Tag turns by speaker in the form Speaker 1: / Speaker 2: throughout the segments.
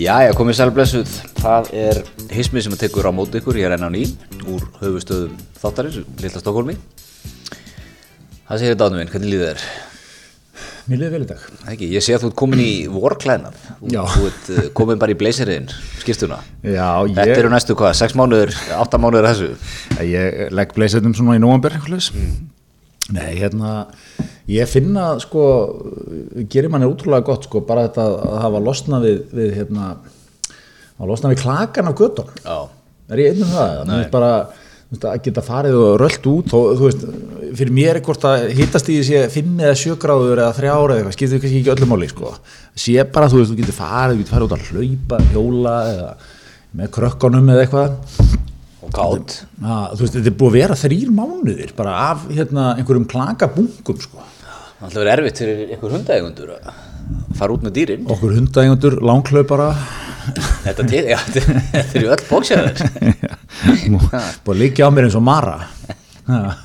Speaker 1: Jæja, komið sæl blessuð. Það er hismið sem tekur á móti ykkur, ég er enn á ný, úr höfustöðum þáttarins, Lilla Stokkólmi. Það segir þetta ánum minn, hvernig líður þér?
Speaker 2: Mér liði vel í dag.
Speaker 1: Það er Ekki, ég sé að þú ert komin í vorklæðnað. Þú-
Speaker 2: Já.
Speaker 1: Þú ert eh, komin bara í blazeriðin, skýrstuna.
Speaker 2: Já,
Speaker 1: Þetta
Speaker 2: ég,
Speaker 1: eru næstu hvað, 6 mánuður, 8 mánuður af þessu.
Speaker 2: ég legg bleysetnum svona í nóvambur eitthvað. Mm. Nei, hérna, ég finna, sko, gerir manni útrúlega gott, sko, bara þetta að hafa losnað við, við hérna, að losnað við klakan af göttunum.
Speaker 1: Já,
Speaker 2: Er ég einn um það? Nei. Bara, þú veist, að geta farið og röllt út og þú veist, fyrir mér er hvort að hittast í sé 5 eða 7 gráður eða 3 ára eða eitthvað, skiptir kannski ekki öllu máli sko. sé bara, þú veist, þú getur farið þú getur farið út að hlaupa, hjóla eða með krökkunum eða eitthvað
Speaker 1: og gátt.
Speaker 2: að, þú veist, þetta er búið að vera þrýr mánuðir bara af hérna, einhverjum klakabungum sko.
Speaker 1: Það ætla að vera erfitt fyrir einhver hundaegundur að fara út með dýrin.
Speaker 2: okkur hundaengundur, langhlaupara
Speaker 1: Þetta til, já, þetta eru öll bóksjæðar.
Speaker 2: Nú, búið að líka á mér eins og Mara Ha.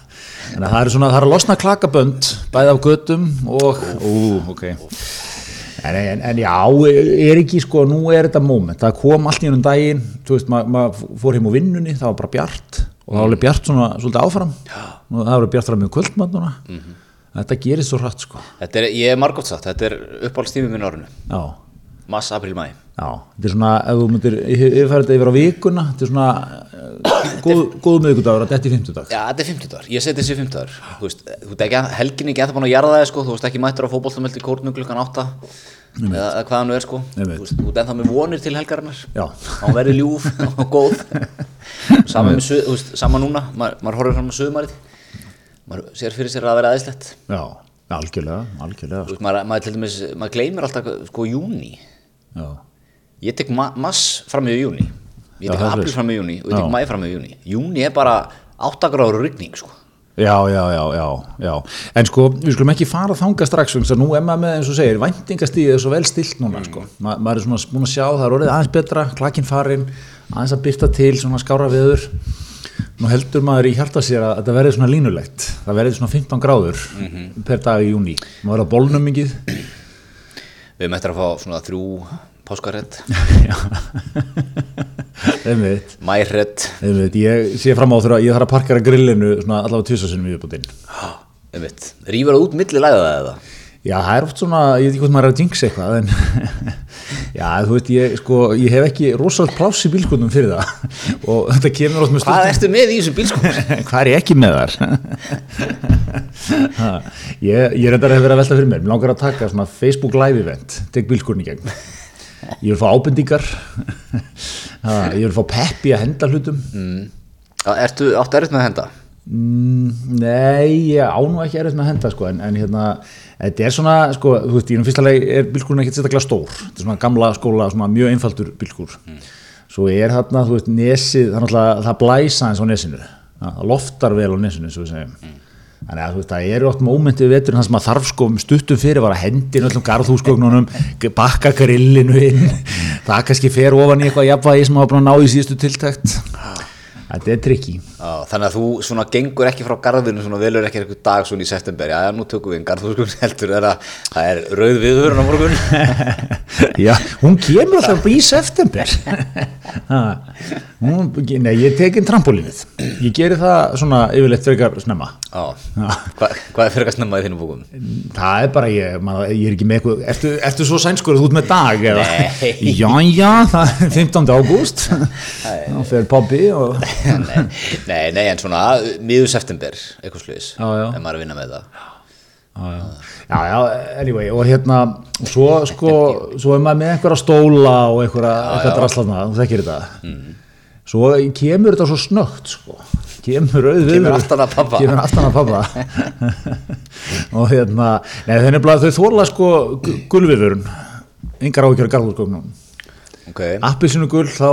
Speaker 2: þannig að það er svona það er að losna klakabönd bæði af götum og ú, ok en, en, en já, er ekki sko nú er þetta moment, það kom allt í ennum daginn þú veist, maður ma fór heim úr vinnunni það var bara bjart og það var alveg bjart svona svolítið áfram og það var bjart fram í kvöldmann þetta gerist svo hratt sko
Speaker 1: Þetta er, ég er margótt satt, þetta er uppáhaldstími minn á árinu.
Speaker 2: já,
Speaker 1: Mars, april, mæ.
Speaker 2: Já, þetta er svona, ef þú myndir yfirfæra þetta yfir á vikuna, þetta er svona eh, góð, góð miðvikudagur að þetta er fimmtudag.
Speaker 1: Já, þetta er 50 dagar, ég seti þessi 50 dagar Þú veist, þú ert ekki, helgin er ekki ennþá búin að jarða það sko. Þú veist ekki mættur á fótbollumöldi kórnum klukkan 8 Eða eða hvað hann er sko Þú
Speaker 2: Einmitt.
Speaker 1: veist, þú ert ennþá með vonir til helgarinnar
Speaker 2: Já.
Speaker 1: Að Hún verði ljúf og góð Sama, með, su- þú veist, sama núna, maður, maður horfir fram á sögumarið Maður sér fyrir sér að vera aðeinslegt
Speaker 2: Já, algjörlega, algjörlega.
Speaker 1: Þú veist, maður, maður til dæmis, maður gleymir alltaf sko júni
Speaker 2: sko. Já,
Speaker 1: Ég tek ma mass fram í júni Ég
Speaker 2: Já,
Speaker 1: tek
Speaker 2: það er
Speaker 1: april
Speaker 2: svoleiðis.
Speaker 1: fram í júni og ég tek
Speaker 2: Já.
Speaker 1: mæ fram í júni Júni er bara 8 gráður rigning sko
Speaker 2: já, já, já, já, já. En sko, við skulum ekki fara þanga strax, þannig að nú er maður með, eins og segir, væntingastíðið er svo vel stilt núna, sko. Ma maður er svona búin að sjá, það er orðið aðeins betra, klakinn farinn, aðeins að byrta til, svona skára viður. Nú heldur maður í hjarta sér að þetta verði svona línulegt, það verði svona 15 gráður per dag í júni. Maður er á bólnumingið.
Speaker 1: Við möttum að fá svona þrjú páskarett,
Speaker 2: Já, einmitt,
Speaker 1: mærett,
Speaker 2: einmitt, ég sé fram á þurfa, ég þarf að parkera grillinu svona allavega tvisasinnum í uppbútinn.
Speaker 1: einmitt. Rýfur það út milli læða eða?
Speaker 2: Já, það er oft svona, ég veit ekki hvort maður er að jinx eitthvað, en já, þú veit, ég, sko, ég hef ekki rosalega pláss í bílskundum fyrir það og þetta kemur oft með
Speaker 1: Hvað ertu með í þessum bílskóð?
Speaker 2: Hvað er ég ekki með þar? Ha, ég, ég reyndar að hef verið að velta fyrir mér, mér langar að taka svona Facebook live event, tek bílskurinn í gegn. Ég vil fá ábendingar, ha, ég vil fá peppi að henda hlutum.
Speaker 1: Mm. Ertu átt erfitt með að henda?
Speaker 2: Mm, nei, ég á nú ekki erfitt með að henda sko, en, en hérna, þetta er svona sko, þú veist, í um fyrsta leið er bílkurinn ekkert sérstaklega stór, þetta er svona gamla skóla svona mjög einfaldur bílkur svo er þarna, þú veist, nesið það, er náttúrulega- það blæsa eins á nesinu það það loftar vel á nesinu, svo við segjum þannig að þú veist, það eru oft mómentið vetur þannig sem að þarf sko um stuttum fyrir var að hendin öllum garðhúsgögnunum, bakka grillinu inn, það kannski fer ofan í eitthvað jafnvægi sem maður var búin að ná í síðustu tiltækt þetta er trikki
Speaker 1: Já, þannig að þú svona gengur ekki frá garðinu, svona velur ekki eitthvað dag svona í september. Já, já, nú tökum við einn garðhúsgrunn heldur, það er, að, það er rauð viðvörun á morgun.
Speaker 2: Já, hún kemur alltaf í september Ha, hún, Nei, ég tek inn trampolínið Ég geri það svona yfirleitt frekar snemma
Speaker 1: Já, Hva, hvað er fyrir að snemma í þínum búkum?
Speaker 2: Það er bara ég, maður, ég er ekki með eitthvað Ertu, ertu svo sænskur að þú ert með dag? Eða?
Speaker 1: Nei.
Speaker 2: Já, já, það er 15. ágúst Þá fer pabbi og
Speaker 1: nei, nei, nei, en svona miður september, eitthvað sluðis,
Speaker 2: Já, já.
Speaker 1: en maður er að vinna með það.
Speaker 2: Já, já, anyway, og hérna og svo, sko, svo er maður með einhverja stóla og einhverja, eitthvað draslarna þú þekkir þetta
Speaker 1: Mhm.
Speaker 2: svo kemur þetta svo snögt, sko kemur auðvitað
Speaker 1: Kemur aftan að pabba.
Speaker 2: kemur aftan að pabba og hérna, nei, þenni blað þau þóla sko gu- gulviðurinn yngar áhyggjur garðurskóknum
Speaker 1: Okay.
Speaker 2: appisinu gull þá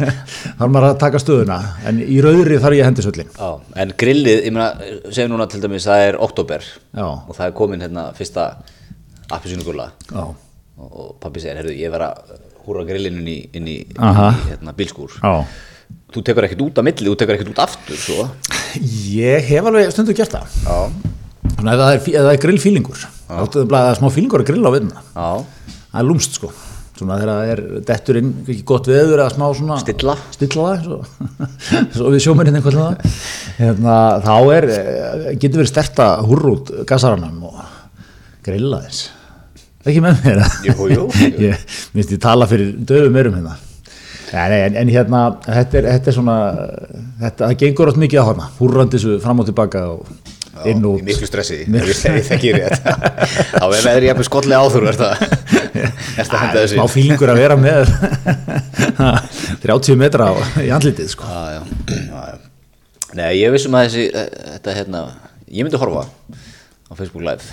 Speaker 2: þarf maður að taka stöðuna en í rauðri þarf ég að hendi söllin
Speaker 1: Já, en grillið, ég meina, segjum núna til dæmis, það er oktober
Speaker 2: Já.
Speaker 1: og það er komin hérna fyrsta appisínugulla
Speaker 2: Já,
Speaker 1: og, og pappi segir, herru, ég verð að húra grillin inn í, inn í,
Speaker 2: Aha.
Speaker 1: inn í hérna, bílskúr.
Speaker 2: já
Speaker 1: Þú tekur ekkert út af milli, þú tekur ekkert út aftur, svo.
Speaker 2: Ég hef alveg stundu gert það
Speaker 1: Já.
Speaker 2: Svona ef það er, ef það er grillfílingur, þá áttu þau bara að það er smá fílingur að grilla á vinna.
Speaker 1: Já,
Speaker 2: Það er lúmst sko. svona þegar það er detturinn ekki gott veður eða smá svona
Speaker 1: Stilla.
Speaker 2: stilla það svo, svo við sjómenninn einhvern veginn hérna, þá er, eh, getur verið sterta hurrút gasaranum og grilla þess ekki með mér eða?
Speaker 1: Jú, jú, jú.
Speaker 2: ég minnst ég tala fyrir döfum erum hérna Nei, nei, en, en hérna, þetta er, þetta er svona þetta, það gengur átt mikið á hana húrrandi þessu fram og tilbaka og inn
Speaker 1: í
Speaker 2: og út
Speaker 1: miklu stressi, ef ég segi þekki rétt þá er veðri jafnir skolli áþur er það er það henda þessi
Speaker 2: smá fílingur að vera með 30 metra á, í andlitið sko.
Speaker 1: Já, já, já, já. Nei, ég vissum að þessi, eh, þetta hérna, ég myndi horfa á Facebook Live.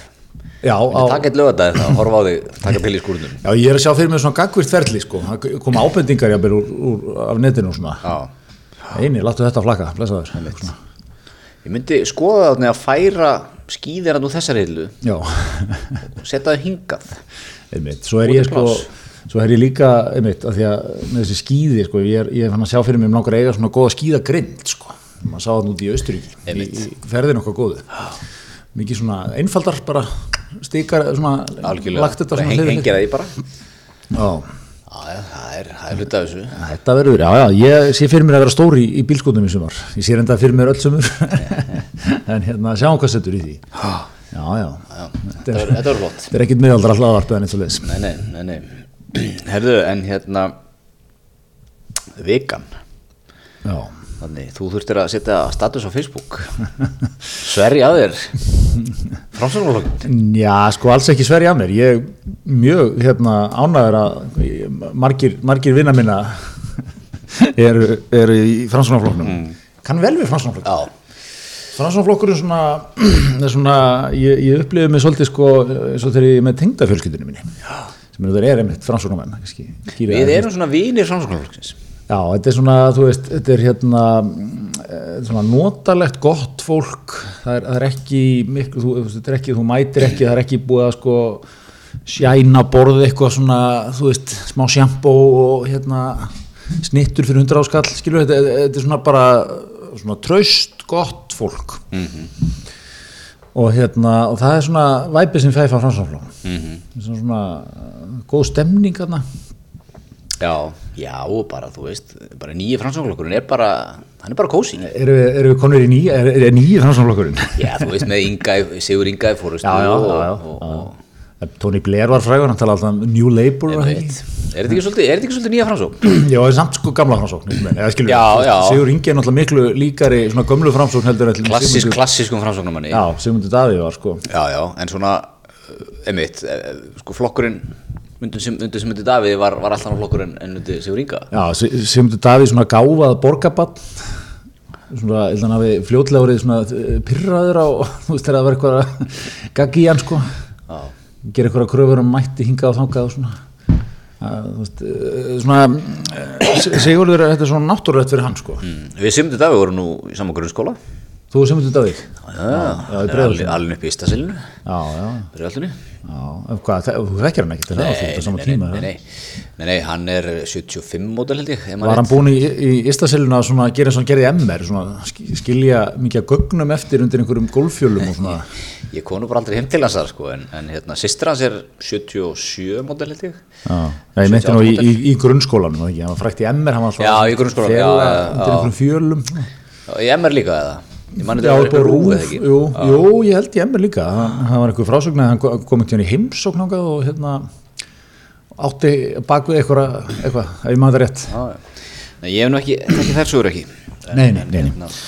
Speaker 2: já, á,
Speaker 1: Myndi taka eitt lögadaginn þá, horfa á þig, taka pill í skúrunum.
Speaker 2: já, ég er að sjá fyrir mér svona gagvirt ferli sko. það koma ábendingar jafnvel úr, úr, af netinu og svona
Speaker 1: Já.
Speaker 2: eini, láttu þetta flakka, blessaður Svona.
Speaker 1: Ég myndi skoða þarna að færa skýðina nú þessar heilu
Speaker 2: já,
Speaker 1: og setja það hingað.
Speaker 2: einmitt svo er
Speaker 1: Út í
Speaker 2: ég sko
Speaker 1: pláss.
Speaker 2: Svo er ég líka, einmitt, að því að með þessi skíði, sko, ég er, ég er fann að sjá fyrir mér um langar að eiga svona góða skíðagrind, sko. Maður sá það út í Austuríki, í, í ferðin okkar góðu. Mikið svona einfaldar, bara stikar, svona,
Speaker 1: Algjörlega.
Speaker 2: lagt þetta
Speaker 1: Bara
Speaker 2: svona
Speaker 1: heng-
Speaker 2: hlið við
Speaker 1: Hengja það í bara.
Speaker 2: hlið. Já,
Speaker 1: Já, já, það er, það er hluta af þessu.
Speaker 2: Þetta verður, já, já, ég sé fyrir mér að vera stóri í, í bílskotum í sumar. Ég sé enda fyrir mér öll sumur, en hérna, sjáum hvað settur í því. Já, já,
Speaker 1: Já,
Speaker 2: þetta
Speaker 1: þetta
Speaker 2: er,
Speaker 1: er, þetta er flott.
Speaker 2: þetta er ekkit miðaldra hlaðvarp eða neitt svo leiðis.
Speaker 1: Nei, nei, nei, nei. Herðu, en hérna, vegan.
Speaker 2: Já,
Speaker 1: Þannig, þú þurftir að setja status á Facebook. Sverja að þér. Framsóknarflokkin.
Speaker 2: já, sko, alls ekki sverja að mér. Ég er mjög, hérna, ánæður að margir, margir vinna minna eru, eru í framsunaflokknum.
Speaker 1: Mm.
Speaker 2: Kann vel við framsunaflokknum.
Speaker 1: Já,
Speaker 2: Framsunaflokkurinn svona, er svona ég, ég upplifði mig svolítið sko eins og þegar ég er með tengdafjölskyldinu minni sem eru þeir eru einmitt framsunafmenn
Speaker 1: við erum svona vinir framsóknarflokksins.
Speaker 2: Já, þetta er svona, þú veist, þetta er hérna mm, eh, svona notalegt gott fólk, það er, það er ekki miklu, þú, þú veist, þetta er ekki, þú mætir ekki, það er ekki búið að sko sjæna borðið eitthvað svona, þú veist, smá sjampó og hérna snittur fyrir hundra áskall, skilur þetta, þetta er svona bara svona traust gott fólk og hérna, og það er svona væpið sem fæði frá fransáflóðum, mm -hmm. svona, svona eh, góð stemning þarna.
Speaker 1: Já, já, og bara, þú veist, bara nýji framsóknarflokkurinn er bara, hann er bara kósi.
Speaker 2: Erum við, erum við konur í nýja, er, er nýja framsóknarflokkurinn?
Speaker 1: Já, þú veist, með Inga, í- Sigur Inga í fórustu og, og, og,
Speaker 2: Tony Blair var frægur, hann talaði alltaf um New Labour var það
Speaker 1: veit.
Speaker 2: ekki?
Speaker 1: Er þetta ekki svolítið, er þetta ekki svolítið nýja framsókn?
Speaker 2: Já, það er samt sko gamla framsókn einhvern veginn, eða skilur
Speaker 1: Já,
Speaker 2: við,
Speaker 1: já.
Speaker 2: Sigur Ingi er náttúrulega miklu líkari svona gömlu framsókn heldur en til
Speaker 1: Klassísk,
Speaker 2: Sigmundur-
Speaker 1: klassískum framsóknarmanni.
Speaker 2: Já, Sigmundur Davíð var sko
Speaker 1: já, já, en svona, uh, einmitt, eh, sko, flokkurinn, myndum sem, myndum sem myndi Davíð var, var alltaf á flokkurinn en myndi Sigur Inga.
Speaker 2: Já, Si- Sigmundur Davíð svona gáfað borgabann svona, ég held að hann hafi fljótlega verið svona eh, pirraður á, þú veist þegar það var eitthvað að gaggi í hann sko
Speaker 1: Já,
Speaker 2: gera eitthvað kröfur um mætti hingað og þangað og svona að, þú veist, eh, svona eh, Si- Sigurður, þetta er svona náttúrulegt fyrir hann sko
Speaker 1: Mm, við Sigur Davíð vorum nú í saman grunnskóla.
Speaker 2: Þú sem myndir Davíð?
Speaker 1: Já, já,
Speaker 2: í
Speaker 1: já,
Speaker 2: Breiðholtinu.
Speaker 1: alveg upp í Ístasilinu,
Speaker 2: Já, já,
Speaker 1: Breiðaltunni.
Speaker 2: já. En Hvað, þe- þú þekkir hann ekkert, er það
Speaker 1: Nei,
Speaker 2: þú ert á sama
Speaker 1: nei, nei,
Speaker 2: tíma.
Speaker 1: nei,
Speaker 2: eða?
Speaker 1: nei, nei, nei, hann er 75 mótel held ég ef maður
Speaker 2: Var hann
Speaker 1: rétt.
Speaker 2: búin í, í Ístasiluna að svona gera eins og hann gerði í MR, svona sk- skilja mikið að gögnum eftir undir einhverjum golffjölum og svona.
Speaker 1: Ég konu bara aldrei heim til hans þar sko en, en hérna, sýstir hans er 77 mótel held ég
Speaker 2: Já, nei, ég meinti nú í, í, í grunnskólanum, var það ekki, hann var frækt í MR, hann var alltaf
Speaker 1: Já,
Speaker 2: að
Speaker 1: í grunnskólanum,
Speaker 2: fela
Speaker 1: já, já,
Speaker 2: undir
Speaker 1: já.
Speaker 2: einhverjum fjölum.
Speaker 1: Já, Í MR líka eða Ég man
Speaker 2: Já,
Speaker 1: þetta
Speaker 2: upp á
Speaker 1: rúið
Speaker 2: rúf,
Speaker 1: ekki
Speaker 2: jú, jú, ég held ég emmer líka, hann, hann var einhver frásögn að hann ko- kom ekki hann í heimsókn ángað og hérna átti bak við eitthvað, eitthvað, ef ég maður það rétt.
Speaker 1: Já, já. Nei, ég hef nú ekki, ekki þær sögur ekki
Speaker 2: Nei, nei, nei, nei.
Speaker 1: Ná.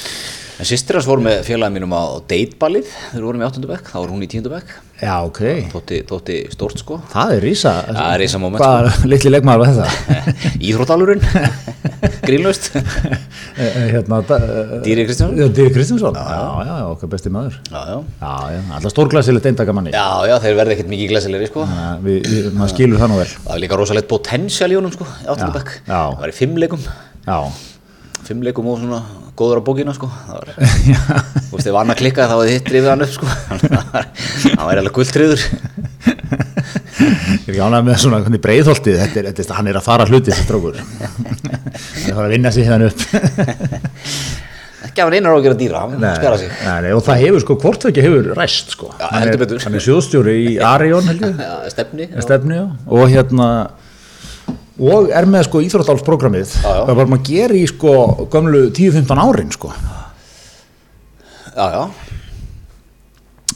Speaker 1: En sýstir hans fór með félagin mínum á deitballið þegar við vorum í 8. bekk, þá var hún í 10. bekk
Speaker 2: Já, ok.
Speaker 1: þótti, þótti stórt sko
Speaker 2: Það er rísa.
Speaker 1: Það er sko. risa moment,
Speaker 2: Hvað, litli leikmaður var þetta?
Speaker 1: Íþróttalurinn Grínlaust
Speaker 2: Eh, eh, hérna,
Speaker 1: Dýri Kristjánsson?
Speaker 2: Já, Dýri Kristjánsson. Já, já, já, okkar besti maður.
Speaker 1: Já, já
Speaker 2: Já, já, alltaf stórglæsilegt eindagamanni.
Speaker 1: Já, já, þeir verði ekkert mikið glæsilegri sko
Speaker 2: Þannig að Við, við, maður skilur það nú vel.
Speaker 1: Það er líka rosalegt potential í honum sko, í Áttunabæk.
Speaker 2: já.
Speaker 1: Það var í fimm leikum,
Speaker 2: Já,
Speaker 1: fimm leikum og svona góður á bókina sko. Það var, þú veist, ef annað klikkaði þá var þitt drifið hann upp sko. Það var, hann var alveg guldtriður.
Speaker 2: ég er ekki ánægð með svona hvernig breiðholtið, þetta er, þetta er, hann er að fara hluti þessi drókur. hann er að fara að vinna sig hérna upp.
Speaker 1: Ekki að hann einar á að gera dýra, hann skara sig.
Speaker 2: Nei, nei, og það hefur sko, hvort það ekki hefur ræst sko.
Speaker 1: Já,
Speaker 2: Hann er-
Speaker 1: heldur betur.
Speaker 2: Hann er sjóðstjóri í Arion, heldur.
Speaker 1: Já, stefni.
Speaker 2: stefni já. og hérna og er með sko íþróttálsprogrammið
Speaker 1: já.
Speaker 2: það var maður að gera í sko gömlu 10-15 árin sko
Speaker 1: já, já,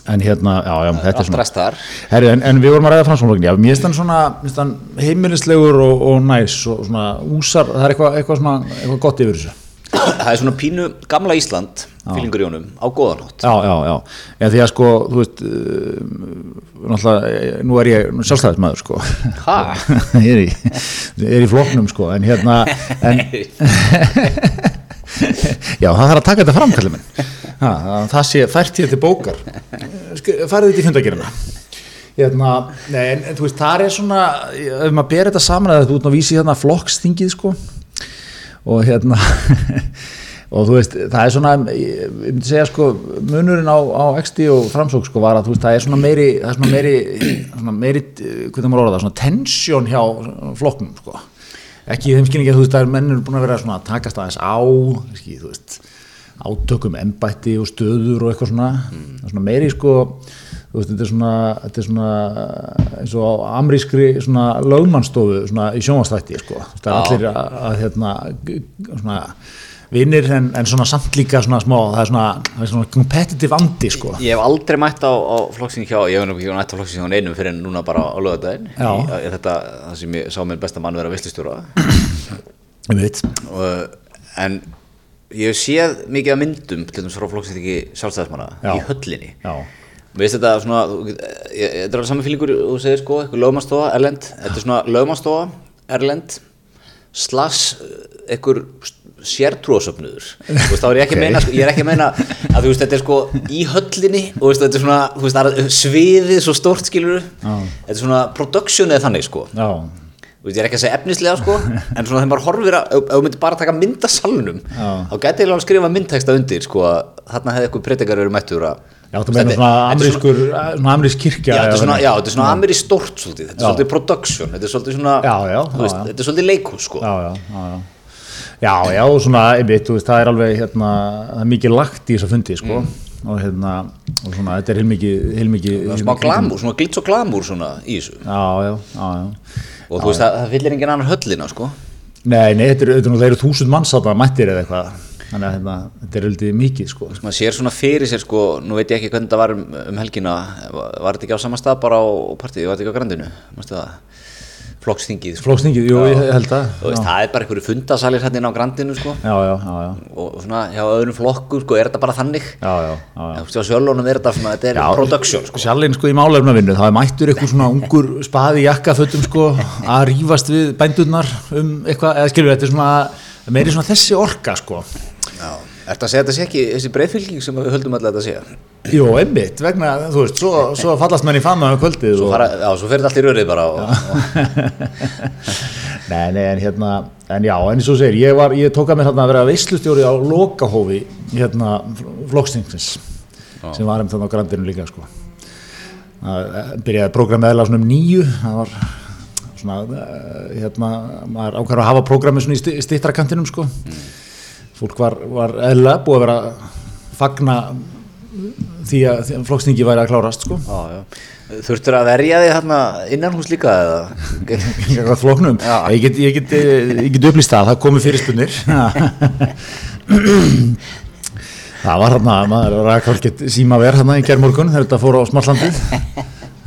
Speaker 2: en hérna, já, já, þetta er
Speaker 1: allt
Speaker 2: svona
Speaker 1: ræst þar
Speaker 2: Herri, en, en við vorum að ræða framsóknarflokkin já, mér finnst hann svona mér finnst hann heimilislegur og, og næs og svona úsar, það er eitthvað eitthvað svona, eitthvað gott yfir þessu
Speaker 1: það er svona pínu gamla Ísland fílingur í honum á góðanótt
Speaker 2: Já, já, já, en því að sko, þú veist, uh, náttúrulega, eh, nú er ég sjálfstæðismæður sko,
Speaker 1: Ha?
Speaker 2: ég er í, er í floknum sko, en hérna, en, já, það þarf að taka þetta fram, kallið minn, ha, það- það sé fært hér til bókar, Sk- farið þetta í fundagerina. Hérna, nei, en en þú veist, þar er svona, ef maður ber þetta saman að þetta út og vísi hérna flokkstingið sko, og hérna og þú veist, það er svona ég ég myndi segja sko, munurinn á, á XD og framsók sko var að þú veist, það er svona meiri það er svona meiri, svona meiri eh, hvernig maður orða það, svona tensjón hjá flokknum sko, ekki í þeim skilningi að þú veist, það er mennur búin að vera svona að takast aðeins á, ekki, þú veist átökum embætti og stöður og eitthvað svona,
Speaker 1: Mm.
Speaker 2: það er svona meiri sko þú veist, þetta er svona, þetta er svona eins og á amrískri svona lögmannstofu svona í sjónvastætti sko, það er
Speaker 1: Já.
Speaker 2: allir að, að hérna, g- g- svona vinnir en, en svona samt líka svona smá, það er svona, það er svona competitive andi sko.
Speaker 1: ég hef aldrei mætt á, á flokksing hjá ég hef nú ekki mætt á flokksing hjá neinum fyrir en núna bara á lögadaginn
Speaker 2: Já.
Speaker 1: þetta, það sem ég sá minn besta mann vera vistustjóra
Speaker 2: Ég veit.
Speaker 1: en ég hef séð mikið af myndum til þess frá flokksing ekki
Speaker 2: Já.
Speaker 1: sjálfstæðismanna í höllinni
Speaker 2: Já.
Speaker 1: Mér finnst þetta svona, þú get- ég- ég- þetta er alveg saman fílingur og þú segir sko, eitthvað lögmanstofa, erlend, þetta er svona lögmanstofa, erlend, slags, eh, einhver sértrúasöfnuður, þú veist, þá er ég ekki að
Speaker 2: Ok.
Speaker 1: meina, sko, ég er ekki að meina að þú veist, þetta er sko í höllinni og þú veist, þetta er svona, þú veist, það er sviðið svo stórt skilur,
Speaker 2: Já.
Speaker 1: þetta er svona production eða þannig sko,
Speaker 2: Já.
Speaker 1: þú veist, ég er ekki að segja efnislega sko, en svona þegar maður horfir að, ef ef þú myndir bara taka mynd af salnum,
Speaker 2: Já.
Speaker 1: þá gæti ég alveg skrifa myndteksta undir sko, að þarna hefði eitthvað predikar verið mættur að,
Speaker 2: Já, þú meina
Speaker 1: Þetta- þetta
Speaker 2: svona
Speaker 1: er svona-
Speaker 2: amrískur, svona amrísk
Speaker 1: Já,
Speaker 2: kirkja.
Speaker 1: þetta er
Speaker 2: eða
Speaker 1: svona,
Speaker 2: þannig.
Speaker 1: já, þetta er svona Ameri stórt svolítið, þetta er
Speaker 2: Já.
Speaker 1: svolítið production, þetta er svolítið svona,
Speaker 2: Já, já,
Speaker 1: þú
Speaker 2: já,
Speaker 1: veist,
Speaker 2: já.
Speaker 1: þetta er svolítið leikhús sko.
Speaker 2: já, já, já, já. Já, já, og svona, einmitt, þú veist, það er alveg, hérna, það er mikið lagt í þess að fundi, sko, og hérna, og svona, þetta er heilmikið, heilmikið.
Speaker 1: Mm. Það er smá glamúr, svona glitz og glamúr svona í þessu.
Speaker 2: Já, já, já, já.
Speaker 1: Og þú veist, það, það fyllir engin annan höllina sko.
Speaker 2: Nei, nei, þetta eru, þetta eru, það eru þúsund manns að það mættir eða eitthvað, þannig að hérna, þetta er heldur mikið, sko.
Speaker 1: Maður sér svona fyrir sér sko, nú veit ég ekki hvernig það var um, um helgina, var var þetta ekki á sama stað bara á partíði, var þetta ekki á grandinu, mástu það, flokkstingið sko.
Speaker 2: Flóksningið, jú, ég held að.
Speaker 1: Þú veist, það er bara einhverju fundasalir hérna inn á grandinu sko.
Speaker 2: Já, já, já, já,
Speaker 1: Og svona, hjá öðrum flokkum sko, er þetta bara þannig?
Speaker 2: já, já, já. já.
Speaker 1: Þú veist, á sjölunum er þetta svona, þetta er production sko.
Speaker 2: Sjallinn sko í málefnavinnu, það er mættur einhver svona ungur spaði í jakkafötum sko að rífast við bændurnar um eitthvað, eða skilur þetta er svona meiri svona þessi orka sko.
Speaker 1: Já, ertu að segja þetta sé ekki þessi breyðfylging sem við höldum alltaf að þetta sé?
Speaker 2: Jó, einmitt, vegna, þú veist, svo, svo fallast menn í fama um kvöldið.
Speaker 1: Svo
Speaker 2: og-
Speaker 1: fara, já, svo fer þetta allt í rörið bara og,
Speaker 2: Nei, nei, en hérna, en já, en eins og þú segir, ég, var, ég tók að mér hérna að vera veislustjóri á lokahófi, hérna, flokksningsins, sem var um þannig á grandinu líka, sko. Það eh, byrjaði prógramið eða svona um nýju, það var svona, eh, hérna, maður ákvæður að hafa prógramið svona í sti- styttrakantinum, sko. Fólk var, var eðla búið að vera að fagna því að, því að flokksningi væri að klárast, sko.
Speaker 1: já, já. Þurftur að verja þig hérna innan hús líka eða?
Speaker 2: Gagnvart floknum,
Speaker 1: Já.
Speaker 2: ég get, ég get, eh, ég get upplýst það, það komi fyrirspunir það var hérna maður var að kválkið síma verð hérna í gerðmorgun þegar þetta fór á smartlandið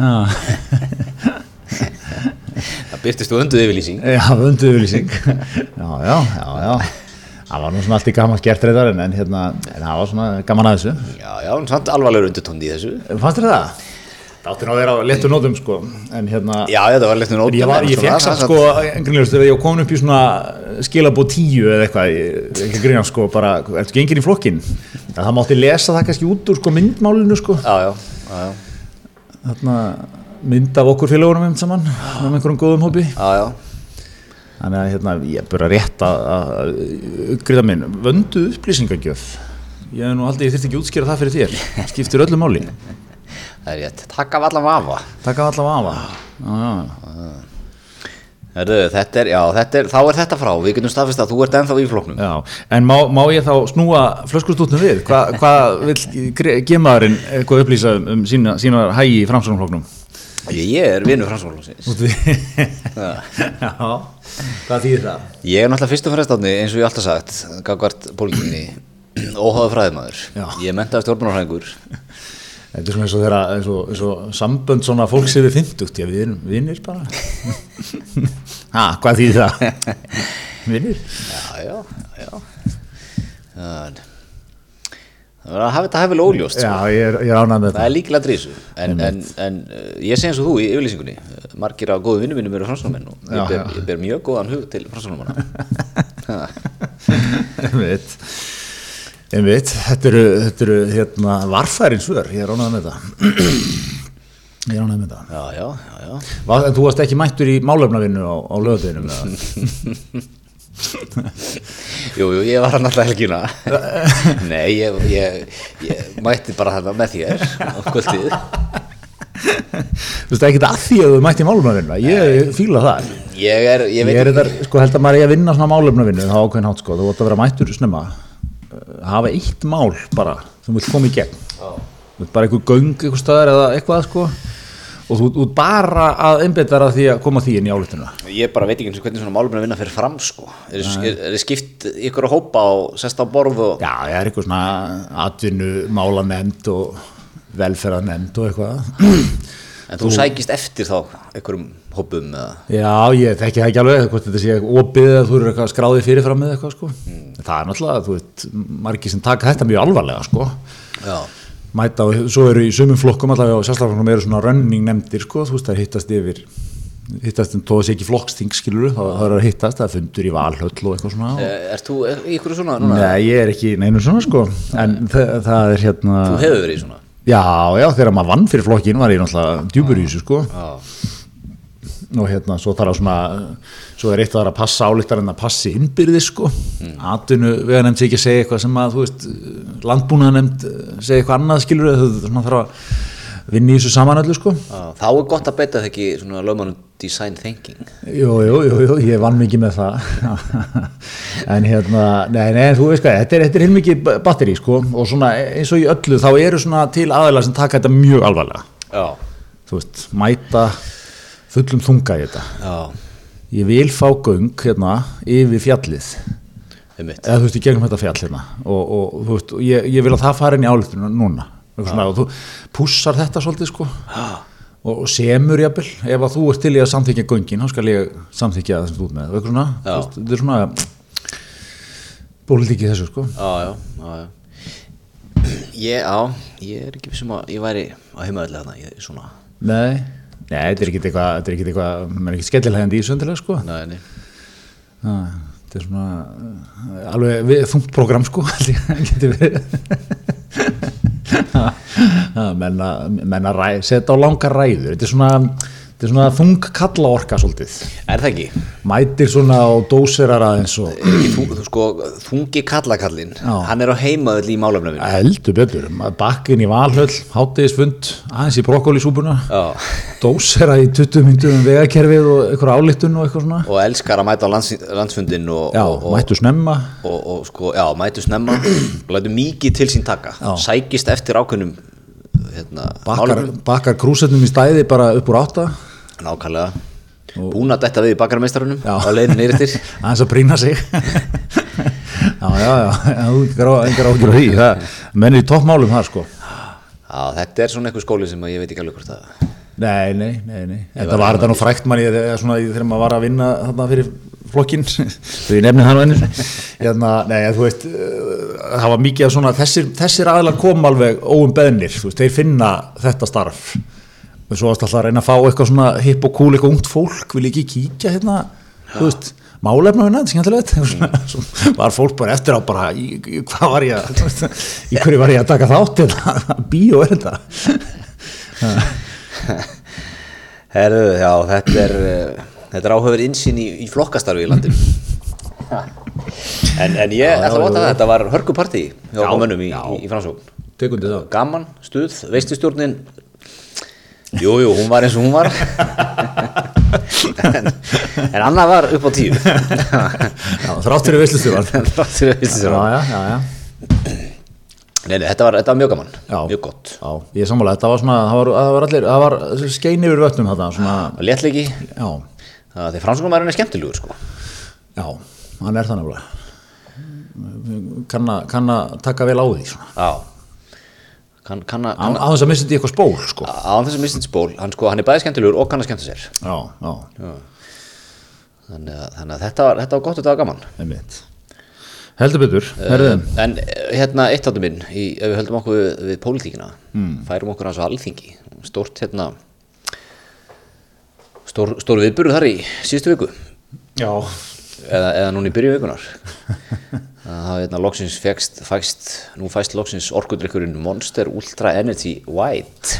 Speaker 2: já,
Speaker 1: Það byrtist þú unduð yfirlýsing.
Speaker 2: já, vönduðurlýsing já, já, já, já það var nú svona allt í gaman gert reyðar en, en hérna, en það var svona gaman að þessu
Speaker 1: Já, já, en samt alvarlegur undutónd í þessu.
Speaker 2: fannst þér það? Það átti nú að vera á letu nótum sko, en hérna
Speaker 1: Já, já, það var leitt nú nótum.
Speaker 2: Ég, var, ég fekk samt sko, grínlust, þegar ég kom upp í svona skilabó tíu eða eitthvað, ég- ekki grínast sko, bara, ertu gengin í flokkin? Það, það mátti lesa það kannski út úr sko myndmálinu sko,
Speaker 1: Já, já, já, já,
Speaker 2: þarna mynd af okkur félagunum um saman, með einhverjum góðum hópi.
Speaker 1: já, já.
Speaker 2: Þannig að hérna, ég er bara rétt að, að uppgriða minn, vöndu upplýsingagjöf. Ég hef nú aldrei, ég þurfti ekki að útskýra það fyrir þér, skiptir öllu máli.
Speaker 1: Það er rétt. Takk af allan vafa.
Speaker 2: Takk af allavega afa. Já, já.
Speaker 1: Herðu, þetta er, já, þetta er, þá er þetta frá. Við getum staðfist að þú ert ennþá í flóknum.
Speaker 2: Já, en má, má ég þá snúa flöskustútnum við? um Hva, hvað vil gemaðurinn eitthvað upplýsa um sína, sína hægi í framsóknarfloknum?
Speaker 1: Ég er vinnu framsvonlóksins.
Speaker 2: Já, hvað þýðir það?
Speaker 1: Ég er náttúrulega fyrst og fremst átni eins og ég hef alltaf sagt, gagvart pólitíkinni, óháða fræðimaður.
Speaker 2: Já.
Speaker 1: Ég mentaði stjórnbunarfræðingur.
Speaker 2: Þetta er svona eins og þeirra eins og, eins og sambönd svona fólks yfir 50 já, við erum vinnir bara ha, hvað þýðir það? vinnir?
Speaker 1: Já, já, já. Það það var að hafa þetta hefilega óljóst.
Speaker 2: Já, ég er, ég er ánægð með
Speaker 1: Það er
Speaker 2: þetta
Speaker 1: líkilega drísu, en, en, en uh, ég segi eins og þú í yfirlýsingunni, uh, margir af góðum vinnum mínum eru fransónumenn og
Speaker 2: Já,
Speaker 1: ég ber,
Speaker 2: já.
Speaker 1: ég ber mjög góðan hug til fransónumanna.
Speaker 2: einmitt einmitt, þetta eru, þetta eru hérna varfærin svör, ég er ánægð með þetta ég er ánægð með þetta
Speaker 1: Já, já, já, já.
Speaker 2: Var, en þú varst ekki mættur í málefnavinnu á, á lögadeginum
Speaker 1: Jú, jú, ég var hann alltaf helgina. Nei, ég, ég, ég mætti bara þarna með þér á kvöldið.
Speaker 2: þú veist ekki að því að þú mætti í málefnavinnu ég fíla það
Speaker 1: Ég er, ég
Speaker 2: Ég
Speaker 1: veit
Speaker 2: er þar, sko, held að maður er að vinna svona málefnavinnu þá ákveðin hátt, sko, þú vart að vera mættur snemma Eh, hafa eitt mál bara sem vill koma í gegn Þú ert bara einhver göng, einhver staðar eða eitthvað, sko og þú þú ert bara að einbytta þér að því að koma því inn í álutinu
Speaker 1: Ég bara veit ekki eins og hvernig svona máluminn að vinna fyrir fram, sko. Er, er, er skipt ykkur að hópa og sest á borð og...
Speaker 2: Já, ég er eitthvað svona atvinnu málanemnd og velferðanemnd og eitthvað
Speaker 1: En þú sækist eftir þá einhverjum hópum eða...
Speaker 2: Já, ég þekki það ekki alveg, hvort þetta sé opið að þú eru eitthvað skráðið fyrirfram með eitthvað, sko Það er náttúrulega, þú veit, margir sem taka þetta mjög alvarlega, sko
Speaker 1: Já.
Speaker 2: mæta og svo eru í sumum flokkum allavega og sérstaflokkum eru svona running nefndir sko, þú veist það er hittast yfir hittast um en tóðast ekki flokksting skilur þá það eru að hittast, það er fundur í valhöll og eitthvað svona og...
Speaker 1: Er Eh, þú er, í ykkur svona núna?
Speaker 2: Nei, ég er ekki í neinu svona sko en það, það er hérna
Speaker 1: Þú hefur verið í svona?
Speaker 2: Já, já, þegar maður vann fyrir flokkin var ég náttúrulega djúpur í þessu sko
Speaker 1: Já.
Speaker 2: og hérna, svo þarf að svona svo er eitt að það er að passa álíktar en að passi innbyrði sko, mm. atvinnu vega nefnd sé ekki að segja eitthvað sem að, þú veist landbúnað nefnd segja eitthvað annað skilur þú veist, svona þarf að vinna í þessu saman öllu sko
Speaker 1: Þá er gott að beita það ekki svona lögmanum design thinking.
Speaker 2: Jú, jú, jú, jú, ég vann mikið með það en hérna, nei, nei, þú veist hvað þetta er, þetta er heilmikið batteri, sko og svona eins og í öllu, þá eru svona til aðeila sem taka þetta mjög alvarlega
Speaker 1: Já.
Speaker 2: þú veist, mæta fullum þunga í þetta
Speaker 1: Já,
Speaker 2: ég vil fá göng hérna yfir fjallið,
Speaker 1: um mitt.
Speaker 2: eða þú veist, í gegnum þetta fjall hérna og, og þú veist, og ég, ég vil að það fara inn í álutinu núna, Eitthvað svona, og þú pússar þetta svolítið, sko og og semur jafnvel, ef að þú ert til í að samþykja göngin, þá skal ég samþykja það sem þú ert með, eitthvað svona,
Speaker 1: Já.
Speaker 2: þú veist, þetta er svona pólitík í þessu sko
Speaker 1: Já, já, já, já. Ég, já, ég er ekki vissum að ég væri á heimaðlega þarna, ég svona,
Speaker 2: Nei, Nei þetta er ekkit eitthvað, þetta er ekkit eitthvað maður er ekkit skellilegandi í söndilega sko Æ,
Speaker 1: næðinni.
Speaker 2: þetta er svona uh, alveg við, þungt program sko held ég að geti verið Ha, menn að, menn að ræ, setja á langar ræður þetta er svona, þetta er svona þung kalla orka svolítið,
Speaker 1: Er það ekki?
Speaker 2: mætir svona og dóserar aðeins og
Speaker 1: Er ekki þú, þú sko, þungi kallakallinn, hann er á heimaðlega í málefnafinu.
Speaker 2: Heldur betur, maður bakkin í valhöll, hátegisfund, aðeins í brokkolísúpuna,
Speaker 1: Já,
Speaker 2: dósera í 20 myndum um vegakerfið og einhver ályktun og eitthvað svona.
Speaker 1: og elskar að mæta á lands, landsfundin og,
Speaker 2: Já,
Speaker 1: og, og,
Speaker 2: mættu snemma.
Speaker 1: og, og sko, já, mætu snemma og lætu mikið til sín taka, sækist eftir ákveðnum, hérna,
Speaker 2: Bakkar, bakkar krúsetnum í stæði bara upp úr átta,
Speaker 1: nákvæmlega, búin að detta við í bakarmeistarunum
Speaker 2: Já.
Speaker 1: á leiðinu neyrirtir.
Speaker 2: aðeins að prína sig. já, já, já, já, þú engar á- engar ágjur því, það mennir í toppmálum það sko.
Speaker 1: Já, þetta er svona einhver skóli sem að ég veit ekki alveg hvort það
Speaker 2: Nei, nei, nei, nei. Þetta var þetta nú frækt manni þegar, svona, í- þegar maður var að vinna þarna fyrir flokkinn, þegar ég nefni hann og ennir. Hérna, nei, þú veist, eh, það var mikið af svona, þessir, þessir aðlar kom alveg óum beðnir, þú veist, þeir finna þetta starf. Og svo varst alltaf að reyna að fá eitthvað svona hipp og cool, eitthvað ungt fólk, vil ekki kíkja hérna, þú veist, málefna hérna, skemmtilegt. Eitthvað svona, Svo var fólk bara eftir á bara, í, í, hvað var ég að, þú veist, í hverju var ég að taka þátt hérna, bíó er þetta.
Speaker 1: Herðu, já, þetta er eh, þetta er áhauður insýn í, í flokkastarfi í landinu en, en ég ætla að vota það, þetta var hörkuparti hjá
Speaker 2: Já,
Speaker 1: mönnum í,
Speaker 2: já.
Speaker 1: í, í fransókn
Speaker 2: Tekundi þá.
Speaker 1: Gaman, stuð, veistustjórnin Jú, jú, hún var eins og hún var en, en annað var upp á tíu
Speaker 2: Já, þrátt fyrir veislustuðan
Speaker 1: Þrátt fyrir veistustjórn
Speaker 2: já, já, já.
Speaker 1: Nei, nei, þetta var, þetta var mjög gaman,
Speaker 2: Já.
Speaker 1: mjög gott
Speaker 2: Já, ég er sammála, þetta var svona, það var, það var allir, það var skein yfir vötnum þetta, svona,
Speaker 1: og léttlegi,
Speaker 2: já,
Speaker 1: það þegar franskómaðurinn er skemmtilegur sko.
Speaker 2: já, hann er það nefnilega, kann, að- kann að taka vel á því, svona,
Speaker 1: Já kann, kann, að-
Speaker 2: á
Speaker 1: kann,
Speaker 2: á þess að missa þetta í eitthvað spól, sko,
Speaker 1: á, á þessum mistensból, hann sko, hann er bæði skemmtilegur og kann að skemmta sér
Speaker 2: já, já,
Speaker 1: þannig að, þannig að þetta, var, þetta var gott og þetta var gaman
Speaker 2: einmitt, heldur betur, herðum,
Speaker 1: en eh, hérna eitt áttum minn í, ef við höldum okkur við, við pólitíkina færum okkur hans á alþingi stórt hérna stór, stór viðburður þar í síðustu viku
Speaker 2: Eh, já,
Speaker 1: eða, eða núna í byrju vikunar það er hérna loksins fækst, fækst nú fæst loksins orkudrykkurinn Monster Ultra Energy White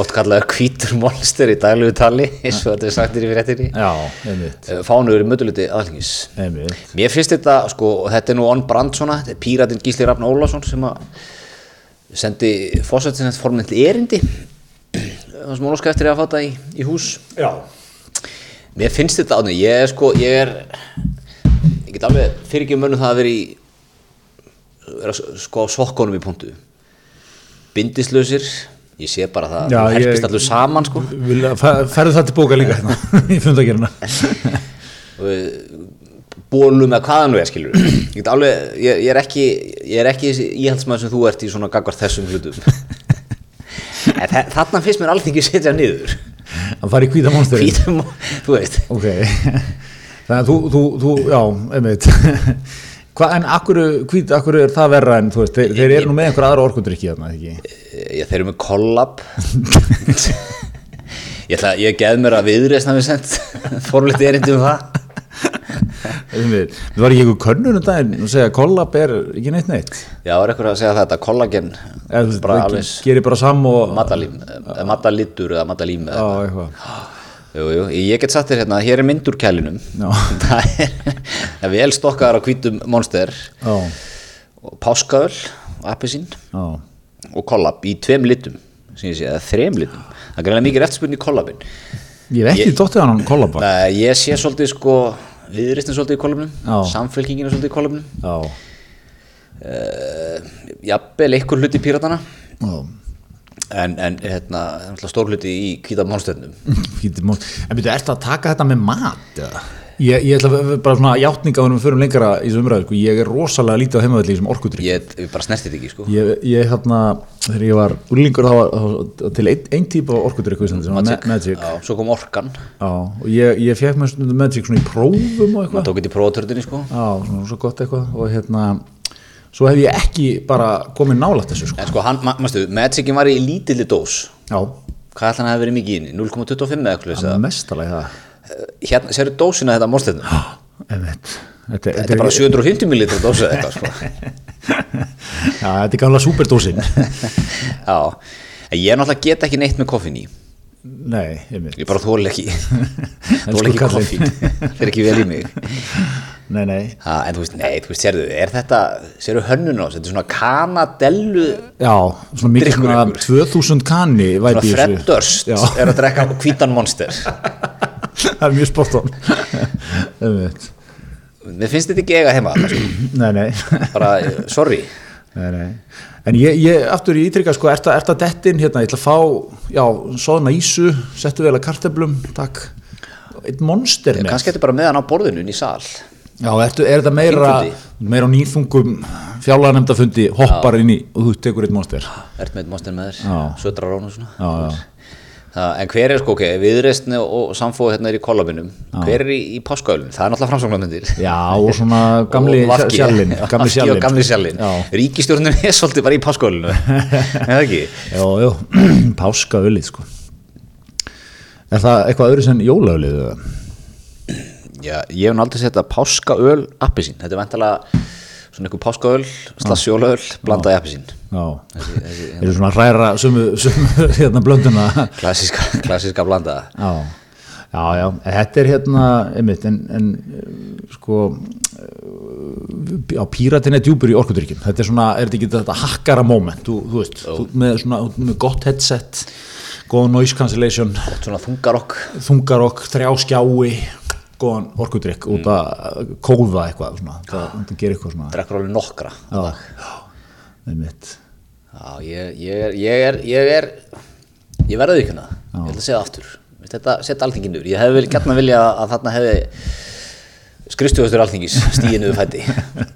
Speaker 1: oft kallaður hvítur Monster í daglegu tali eins og þetta er sagt yfir réttinni
Speaker 2: já, einmitt,
Speaker 1: fánuður Eh, í mötuluti aðlingis
Speaker 2: einmitt,
Speaker 1: mér finnst þetta, sko, og þetta er nú on brand svona, þetta er píratinn Gísli Rafn Ólafsson sem að sendi fósættinett formið erindi það sem hún óska eftir að fatta í, í hús
Speaker 2: já,
Speaker 1: Mér finnst þetta ánum, ég er sko, ég er, ég get alveg fyrir ekki mönnum það að vera í, vera sko á sokkunum í punktu. Bindislausir, ég sé bara það,
Speaker 2: Já,
Speaker 1: það
Speaker 2: ég-
Speaker 1: herpist allur saman sko.
Speaker 2: vil, ferðu það til bóka líka hérna, í fundagerina,
Speaker 1: Bólum eða hvaðan við er skilur. Ég get alveg, ég, ég er ekki, ég er ekki þessi íhaldsmaður sem þú ert í svona gagvart þessum hlutum. En þa- þarna finnst mér alþingi setja niður.
Speaker 2: að fara í hvíta monsterið,
Speaker 1: Hvítum, þú veist.
Speaker 2: Ok, þannig að þú, þú, þú já, einmitt. Hva, en akkur, hvít, akkur er það verra en þú veist, þeir, þeir eru nú með einhver aðra orkundrykki þarna, ekki?
Speaker 1: Já, þeir eru með kollab Ég ætla ég geð mér að viðreisna við sent Formlegt erindi um það
Speaker 2: Einmitt. Við varum í einhver könnun um daginn og segja að kollab er ekki neitt neitt.
Speaker 1: Já, er eitthvað að segja þetta, kollagen
Speaker 2: Eða, þú veist,
Speaker 1: Bara
Speaker 2: það
Speaker 1: alveg
Speaker 2: Gerir bara sam og...
Speaker 1: matalím eh, Matalítur eða matalím
Speaker 2: Já,
Speaker 1: eða-
Speaker 2: eitthvað.
Speaker 1: Jú, jú, ég get sagt þér hérna Hér er myndur kælinum
Speaker 2: Já.
Speaker 1: Það er, það er vel stokkaðar á hvítum monster
Speaker 2: Já,
Speaker 1: og Páskaöl, appisín
Speaker 2: já,
Speaker 1: og kollab í tveim litum sem ég sé, eða þreim litum Það er greinlega mikið eftirspurn í kollabin
Speaker 2: Ég hef ekki dottið hann á kollab bara.
Speaker 1: Nei, ég sé svolítið sko viðreistin svolítið í
Speaker 2: Já.
Speaker 1: kolumnum samfélkingin er svolítið í kolumnum
Speaker 2: Já,
Speaker 1: uh, jafnvel einhver hluti í píratana
Speaker 2: já.
Speaker 1: en, en hérna, náttúrulega stór hluti í kvíta mánstefnum
Speaker 2: Hvíti món. En byrju, ertu að taka þetta með mat, eða? Ég, ég ætla að- bara svona játninga um við förum lengra í þessu umræðu, sko. Ég er rosalega lítið á heimavalli í þessum orkudrykki.
Speaker 1: ég, ég bara snerti þetta ekki sko
Speaker 2: Ég, ég hérna, þegar ég var úrlingur þá var þá var til einn ein típa orkudrykku sem var Ma- Magic
Speaker 1: Já, svo kom orkan,
Speaker 2: Já, og ég, ég fekk mér stundum Magic svona í prófum og eitthvað
Speaker 1: tók þetta í prófatörðinni sko
Speaker 2: Já, svona svo gott eitthvað og hérna, svo hef ég ekki bara komið nálægt þessu sko
Speaker 1: en sko, hann, ma mastu, Magicin var í lítilli dós
Speaker 2: Já,
Speaker 1: hvað ætla hann hafi verið mikið í henni, 0,25 eða eitthvað
Speaker 2: það
Speaker 1: ja.
Speaker 2: er mestalega það
Speaker 1: hérna, sérðu dósina þetta mánstefnum
Speaker 2: Einmitt. Þetta,
Speaker 1: Ah, þetta er bara 750 ml dósa eða eitthvað sko
Speaker 2: Já, þetta er gamla superdósin
Speaker 1: já, en ég náttúrulega get ekki neitt með koffin í
Speaker 2: Nei, einmitt
Speaker 1: ég bara þóla ekki þóla ekki
Speaker 2: kallinn.
Speaker 1: koffín það er ekki vel í mig
Speaker 2: Nei, nei
Speaker 1: ha, en þú veist, nei, þú veist, sérðu, er þetta sérðu hönnun á þessu, þetta er svona kanadellu
Speaker 2: Já, svona mikið
Speaker 1: Drykkur
Speaker 2: svona
Speaker 1: ykkur.
Speaker 2: 2000 kanni
Speaker 1: svona
Speaker 2: væti í
Speaker 1: Fred
Speaker 2: þessu.
Speaker 1: Durst
Speaker 2: Já.
Speaker 1: er að drekka hvítan monster
Speaker 2: Það er mjög sportón Einmitt
Speaker 1: mér finnst þetta ekki eiga heima þarna, sko.
Speaker 2: Nei, nei
Speaker 1: bara, eh, sorry
Speaker 2: Nei, nei. En ég, ég aftur ég ítrykka sko, ert að, ert að dettin hérna, ég ætla að fá, já, soðna ísu, settu vel að karteblum, takk. Eitt monster með.
Speaker 1: kannski þetta er bara með hann á borðinu inn í sal
Speaker 2: Já, ertu, er þetta meira,
Speaker 1: Þingfundi.
Speaker 2: meira á nýþungum fjárlaganemdafundi, hoppar inn í og þú tekur eitt monster.
Speaker 1: ert með eitt monster með þér,
Speaker 2: Já.
Speaker 1: sötrar án og svona
Speaker 2: Já, já.
Speaker 1: Það, en hver er sko, ok, viðreistni og samfóð hérna er í kollabinum, hver er í, í páskaölun það er náttúrulega framsóknarmyndir
Speaker 2: Já, og svona gamli
Speaker 1: Og Vafki.
Speaker 2: sjallin.
Speaker 1: Já, Vafki
Speaker 2: Gamli
Speaker 1: og
Speaker 2: sjallin.
Speaker 1: gamli sjallin.
Speaker 2: Já,
Speaker 1: Ríkistjórnin er svolítið bara í páskólinu eða ekki
Speaker 2: já, já, páska sko. Er það eitthvað öðru sem jólaölið? eða?
Speaker 1: Já, ég hef nú aldrei sett að páskaöl appisín, þetta er vantalega svona einhver páskaöl, slassjólaöl blandaði appisín
Speaker 2: Já, eru svona að hræra sumu, sumu hérna blönduna
Speaker 1: klassiska, klassiska blandaða
Speaker 2: Já, já, já, þetta er hérna, einmitt, en, en eh, sko, eh, já, píratin er djúpur í orkudrykkjum, þetta er svona, er þetta ekki þetta hakkara moment, þú, þú veist, þú, ert með svona, þú ert með gott headset, góð noise cancellation,
Speaker 1: svona þungarokk
Speaker 2: þungarokk, þrjá skjái, góðan orkudrykk út að kóða eitthvað svona, það, það gerir eitthvað svona
Speaker 1: drekkur alveg nokkra
Speaker 2: já, já, einmitt
Speaker 1: Já, ég, ég, er, ég er, ég er, ég verði ykkurna, ég ætla að segja það aftur. Mér finnst Þetta setja alþingin úr. Ég hefði vel gert að vilja að þarna hefði skrifstjóðastur alþingis stíinu við fætti.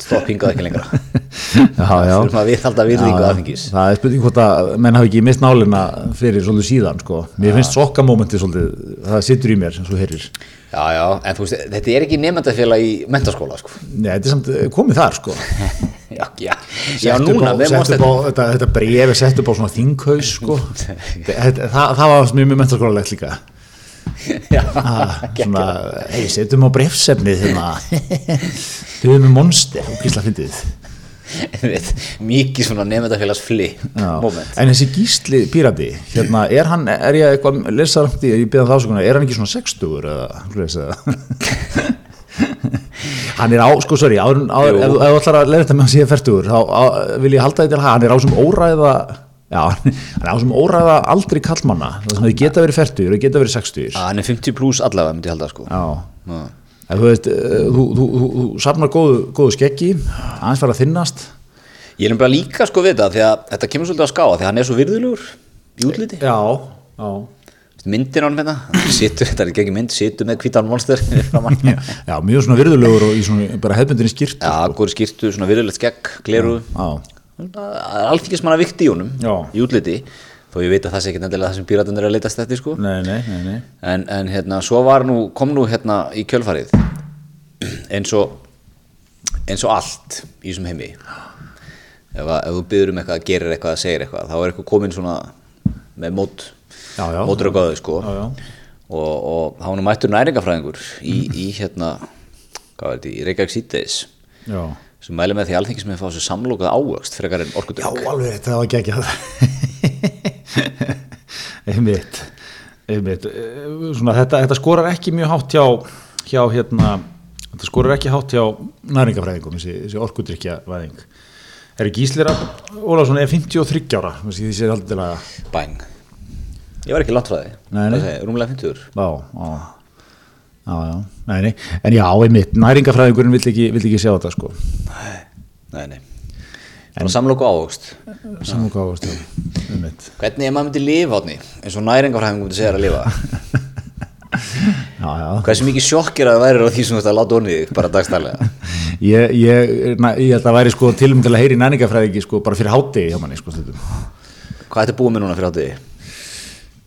Speaker 1: Stopp hingað ekki lengra.
Speaker 2: já, já.
Speaker 1: Þurfum að viðhalda virðingu
Speaker 2: Já, já.
Speaker 1: alþingis.
Speaker 2: það er spurning hvort að menn hafi ekki mist nálina fyrir svolítið síðan sko. mér finnst sokkamómenti svolítið það situr í mér sem svo heyrir
Speaker 1: Já, já, en þú veist, þetta er ekki nefndafélag í mentaskóla, sko.
Speaker 2: Nei, þetta er samt eh, komið þar sko
Speaker 1: Já, já, já
Speaker 2: Sett upp
Speaker 1: núna,
Speaker 2: á-
Speaker 1: við
Speaker 2: sett
Speaker 1: mást
Speaker 2: upp á, þetta, þetta bref er sett upp á svona þinghaus sko. þetta, það, það var mjög mjög mentarskólalegt líka
Speaker 1: Já,
Speaker 2: Ah,
Speaker 1: geggjað.
Speaker 2: svona, hei, setjum á brefsefnið hérna höfum við monster og gísla fyndið
Speaker 1: Einmitt, mikið svona nefndafélags fli
Speaker 2: Já.
Speaker 1: moment.
Speaker 2: en þessi gísli pírati hérna, er hann, er ég eitthvað að lesa rámt í, ég beða það ásökunar, er hann ekki svona 60 eða, svoleiðis, eða hann er á, sko sorry áður, en- áður,
Speaker 1: Jú.
Speaker 2: ef, ef þú ætlar að leiða þetta með hann síðan færtugur þá á, vil ég halda þetta til að hann er á sem óræða já, hann er á sem óræða aldrei kallmanna, það sem þau geta verið færtugur og geta verið 60
Speaker 1: Já, hann er 50 pluss allavega, myndi ég halda, sko.
Speaker 2: já,
Speaker 1: Já.
Speaker 2: en þú veist eh, þú, þú, þú, þú safnar góðu, góðu skeggi aðeins fara að þinnast
Speaker 1: Ég er bara líka sko við þetta því að þetta kemur svolítið að skáa því að hann er svo virðulegur í útliti.
Speaker 2: já, já
Speaker 1: Myndin á hann hérna, situr, þetta er ekki ekki mynd, situr með hvítan monster fyrir framan.
Speaker 2: Já, já, mjög svona virðulegur og í svona bara hefbundinni skýrt
Speaker 1: Já, góri skýrtu, svona virðulegt skegg, gleru.
Speaker 2: Já,
Speaker 1: Það er alþingismanna vikti í honum,
Speaker 2: Já.
Speaker 1: í útliti, þó ég veit að það sé ekki nefnilega það sem píratinn er að leitast eftir sko.
Speaker 2: nei, nei, nei, nei.
Speaker 1: En, en hérna, svo var nú, kom nú hérna í kjölfarið, eins og, eins og allt í þessum heimi. Ef, að, ef þú byður um eitthvað, gerir eitthvað, segir eitthvað, þá er eitthvað komin svona með mót,
Speaker 2: Já, já.
Speaker 1: mótrökaðu sko.
Speaker 2: Já, já.
Speaker 1: Og, og þá var nú mættur næringafræðingur í, í hérna, hvað er þetta, í Reykjavík síðdeis,
Speaker 2: Já.
Speaker 1: sem mæli með því alþengis með að fá sér samlokað ávöxt frekar en
Speaker 2: já,
Speaker 1: orkudrykk.
Speaker 2: alveg, rétt, það var geggjað Einmitt Einmitt Eh, Svona, þetta, þetta skorar ekki mjög hátt hjá hjá hérna þetta skorar ekki hátt hjá næringafræðingum þessi, þessi orkudrykja væðing Er Gísli Rapp Ólafsson er 53 ára þessi þessi er aldrei til að
Speaker 1: Bang. Ég var ekki langt frá því,
Speaker 2: Nei, nei.
Speaker 1: Það segi, rúmlega 50
Speaker 2: Já, já, já, já. Nei, nei. En já, einmitt, næringafræðingurinn vill ekki, vill ekki sjá þetta sko
Speaker 1: Nei, nei. Bara samloku ávöxt.
Speaker 2: Samúkáðast, já, einmitt
Speaker 1: Hvernig ef maður myndi lifa átni, eins og næringafræðingum myndi segja þér að lifa?
Speaker 2: Já, já,
Speaker 1: Hversu mikið sjokk er að það væri á því sem þú ert að láta onni þig, bara dagstælega?
Speaker 2: ég, ég, na, ég held að væri sko tilum til að heyri næningafræðingi sko bara fyrir hátegi hjá manni sko stundum
Speaker 1: Hvað ertu búið með núna fyrir átti?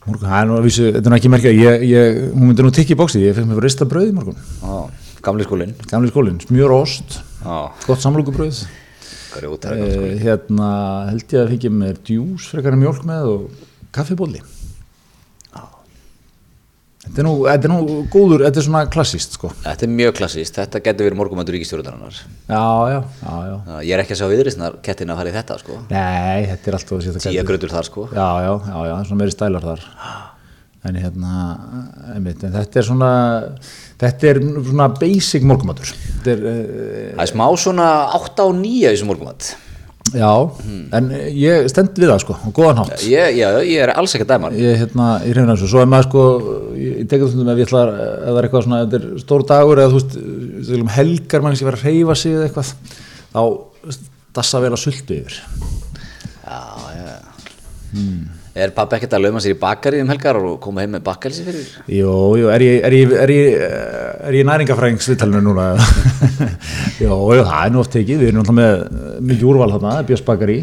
Speaker 2: Morgun, það er nú að vísu, þetta er nú ekki merkja, ég, ég, hún myndi nú tikka í bóksið, ég fekk mér rista brauð í morgun,
Speaker 1: Á, gamli skólinn.
Speaker 2: gamli skólinn, smjör og ost,
Speaker 1: Á,
Speaker 2: gott samlókubrauð,
Speaker 1: hvað er út að reyna?
Speaker 2: eh, hérna held ég að fengi mér djús frekar en mjólk með og kaffibóli. Þetta er nú, þetta er nú góður, þetta er svona klassist sko.
Speaker 1: Þetta er mjög klassist, þetta getur verið morgumandur ríkistjóruðarinnar.
Speaker 2: Já, já, já, já.
Speaker 1: Ég er ekki að sjá viðriðsnar kettin að fara í þetta, sko.
Speaker 2: Nei, þetta er alltaf að setja
Speaker 1: Tíja gröður þar, sko.
Speaker 2: já, já, já, já, svona meiri stælar þar en hérna einmitt, en þetta er svona þetta er svona basic morgumatur þetta er, uh,
Speaker 1: Það er smá svona 8 á 9 í þessum morgumatt.
Speaker 2: já en ég stend við það sko, á góðan hátt
Speaker 1: Ég, já, ég er alls ekki að dæma. hann.
Speaker 2: ég hérna, ég reyna þessu, svo er maður sko ég ég tekur þundum ef ég ætla að ef það er eitthvað svona, þetta er stór dagur eða þú veist, við segjum helgar mann sem verður að reyfa sig eða eitthvað, þá dassa vel að sultu yfir
Speaker 1: Já, já. Er pappi ekkert að lauma sér í bakari um helgar og koma heim með bakelsi fyrir?
Speaker 2: Jú, jú, er ég, er ég, er ég, er ég næringafræðingsvitalinu núna? jú, jú, það er nú oft tekið, við erum náttúrulega með mikið úrval þarna, Björns Bakari,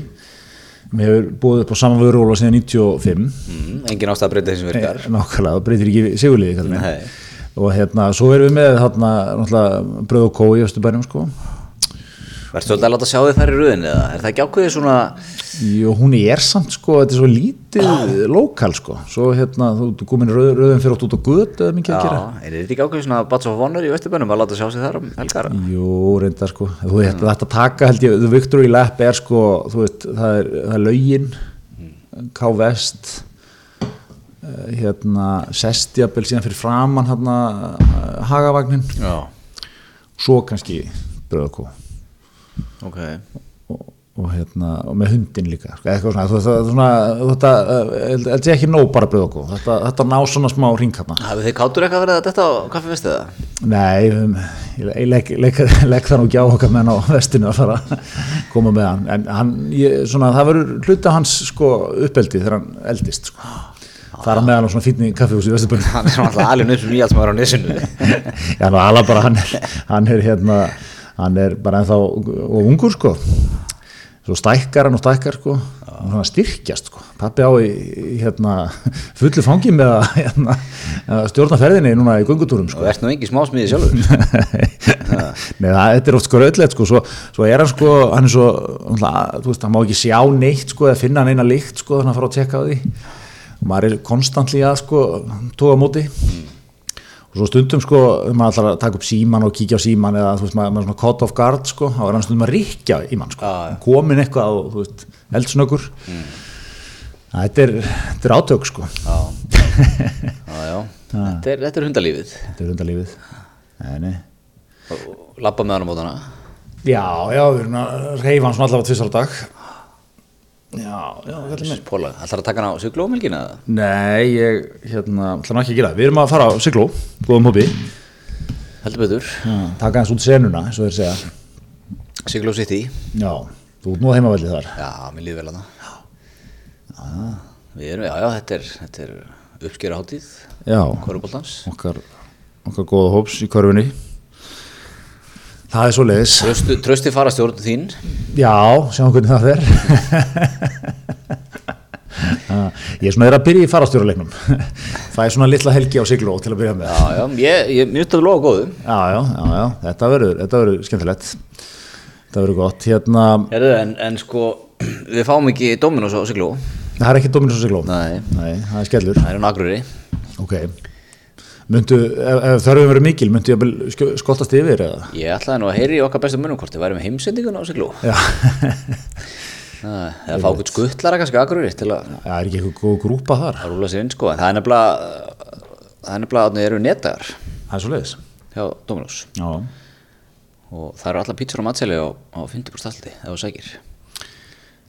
Speaker 2: við hefur búið upp á saman vöruóla síðan 95,
Speaker 1: Mm, engin ástæð að breyta þessum virkar.
Speaker 2: Eh, nákvæmlega, það breytir ekki segulegi, kallar
Speaker 1: Nei.
Speaker 2: mig. Og hérna, svo erum við með þarna, náttúrulega, bröð og kó í Östubænum, sko.
Speaker 1: Verður svolítið að láta sjá þið þær í röðinni eða? Er það ekki ákveðið svona,
Speaker 2: Jú, hún er samt, sko, þetta er svo lítið lokal, sko. Svo hérna, þú ert komin röð, röðum fyrir ótt út á götu, eða mikið
Speaker 1: já,
Speaker 2: að gera.
Speaker 1: er þetta ekki ákveðið svona Bats of Honor í Vesturbænum að láta sjá þið þar um helgar?
Speaker 2: Mm. Jú, reyndar sko, þú veit, þetta taka held ég, The Victory Lap er sko, þú veist, það er, það er laugin, K-Vest, eh, hérna, Sestjabel síðan fyrir framann, hérna, eh, Hagavagnin,
Speaker 1: Já,
Speaker 2: svo kannski Bröðakó
Speaker 1: ok.
Speaker 2: og, og hérna, og með hundin líka, sko, eitthvað svona, þú veist, það er svona, þetta, eh, held held ég ekki nóg bara Bröðakó, þetta, þetta ná svona smá ring hérna.
Speaker 1: Hafið þið kátur eitthvað verið að þetta á kaffi vestið það?
Speaker 2: Nei, um, ég legg, legg, legg það nú ekki á okkar menn á vestinu að fara að koma með hann en hann, ég, svona, það verður hluta hans sko, uppeldi þegar hann eldist sko. það er að með hann á svona fínni kaffihús í Vesturbunni
Speaker 1: hann er alltaf alveg nöðsum nýjald sem er á nesinu
Speaker 2: Já, ná, ala bara hann er, hann er hérna, hann er bara ennþá og ungur sko svo stækkar hann og stækkar sko og svona styrkjast sko, pappi á í, í hérna, fullu fangi með að hérna, að stjórna ferðinni núna í göngutúrum sko
Speaker 1: og ert nú engi smásmiði sjálfur
Speaker 2: Nei, það, þetta er oft sko rauðlegt sko, svo, svo er hann sko, hann er svo, hann, þú veist, hann má ekki sjá neitt sko, eða finna hann eina lykt sko, þannig að fara að tjekka á því og maður er konstantli að sko, tóka á móti og svo stundum sko, ef maður ætlar að taka upp síman og kíkja á síman eða þú veist, maður, maður er svona caught off guard sko, þá er hann stundum að ríkja í mann sko,
Speaker 1: Já, já.
Speaker 2: komin eitthvað á, þú veist, eldsnöggur þetta er, þetta er átök sko,
Speaker 1: já, já, já. Þetta, er, þetta er hundalífið
Speaker 2: þetta er hundalífið nei, nei
Speaker 1: og lappa með hann á mótana
Speaker 2: Já, já, við erum að reyfa hann svona allavega tvisar á dag Já, já, kallið minn
Speaker 1: Póla, ætlar að taka hann á suglómilgina
Speaker 2: Nei, ég, hérna, ætla nú ekki að gera það Við erum að fara á sigló, góðum hópi
Speaker 1: heldur betur,
Speaker 2: Taka hans út senuna, eins og þeir segja
Speaker 1: sugló sitt í
Speaker 2: Já, þú ert nú að heimavælið þar
Speaker 1: já, mér líður vel að það við erum, já, já, þetta er, þetta er uppskera hátíð
Speaker 2: Já,
Speaker 1: Köruboltans
Speaker 2: okkar, okkar góða hóps í körfunni Það er svo leiðis
Speaker 1: Tröstu, trösti farastjórn þín
Speaker 2: Já, sjáum hvernig það fer Ah, Ég er svona er að byrja í farastjóruleiknum Það er svona litla helgi á sigló til að byrja með
Speaker 1: Já, já, ég, ég mjög að lofa góðu
Speaker 2: Já, já, já, já, þetta verður, þetta verður skemmtilegt Þetta verður gott, hérna,
Speaker 1: Heru, en, en sko, við fáum ekki Dominos á Sigló
Speaker 2: það er ekki Dominus og Sigló
Speaker 1: Nei,
Speaker 2: Nei, það er skellur
Speaker 1: það er hann agrúri
Speaker 2: Ok Myndu, ef, ef þörfum verið mikil, myndu ég að skottast yfir eða?
Speaker 1: Ég ætlaði nú að heyri í okkar besta munum hvort við værum með heimsendingun á Sigló
Speaker 2: Já,
Speaker 1: Nei, Eða fá okkur skuttlara kannski agrúri til að
Speaker 2: það er ekki eitthvað góð grúpa þar
Speaker 1: að rúla sér inn sko En það er nefnilega, það er nefnilega að það eru netaðar
Speaker 2: Það er svo leiðis
Speaker 1: hjá Dominos
Speaker 2: Já,
Speaker 1: Og það eru alla pítsur og matseli á, á 50% aldi ef þú sækir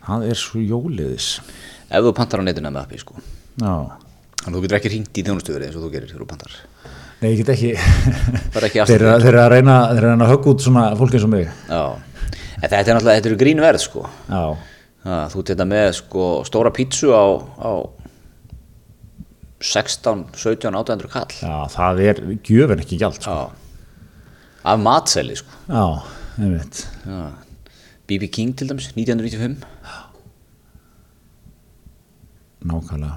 Speaker 2: það er svo jóliðis
Speaker 1: Ef þú pantar á netinu með appi sko
Speaker 2: Já
Speaker 1: Þannig að þú getur ekki hringt í þjónustuverið eins og þú gerir þegar þú pantar
Speaker 2: Nei, ég get ekki
Speaker 1: Það er ekki
Speaker 2: Þeir eru að- þeir eru að reyna, þeir eru að reyna að högg út svona fólk eins og mig
Speaker 1: Já, en þetta er náttúrulega, þetta eru grínverð sko.
Speaker 2: Já,
Speaker 1: Ha, Þú ert þetta með sko stóra pítsu á, á 16, 17, 800 kall.
Speaker 2: já, það er gjöfin ekki gjald sko.
Speaker 1: Já. Af matseli sko.
Speaker 2: Já, einmitt
Speaker 1: Já. BB King til dæmis, 1995.
Speaker 2: Nákvæmlega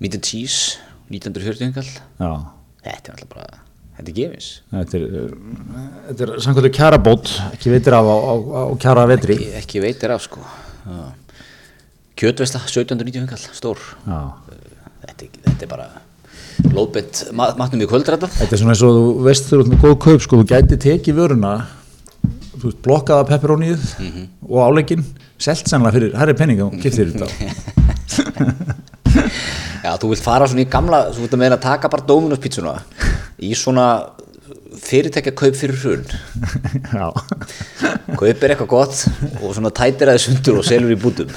Speaker 1: Meat and Cheese, 1940 kall.
Speaker 2: Já,
Speaker 1: Þetta er náttúrulega bara, þetta er gefins.
Speaker 2: Þetta er, uh, þetta er samkvæmdu kjarabót, ekki veitir af á, á, á kjara vetri.
Speaker 1: Ég ekki veitir af sko. Já. Kjötvesla, 1795 kall, stór.
Speaker 2: Já.
Speaker 1: Þetta, er- þetta er bara lóðbett mat, matnum í kvöldrættan.
Speaker 2: Þetta er svona eins og þú veist þú ert með góð kaup, sko, þú gæti tekið vöruna, þú veist, blokkaða pepperónið og áleikin, selt sannlega fyrir, herri penning, þú kiptir þetta.
Speaker 1: Já, þú vilt fara svona í gamla, þú vilt að meina að taka bara Dominos pizzuna í svona fyrirtækja kaup fyrir hrun.
Speaker 2: Já.
Speaker 1: Kaup er eitthvað gott og svona tætir aðeins sundur og selur í bútum.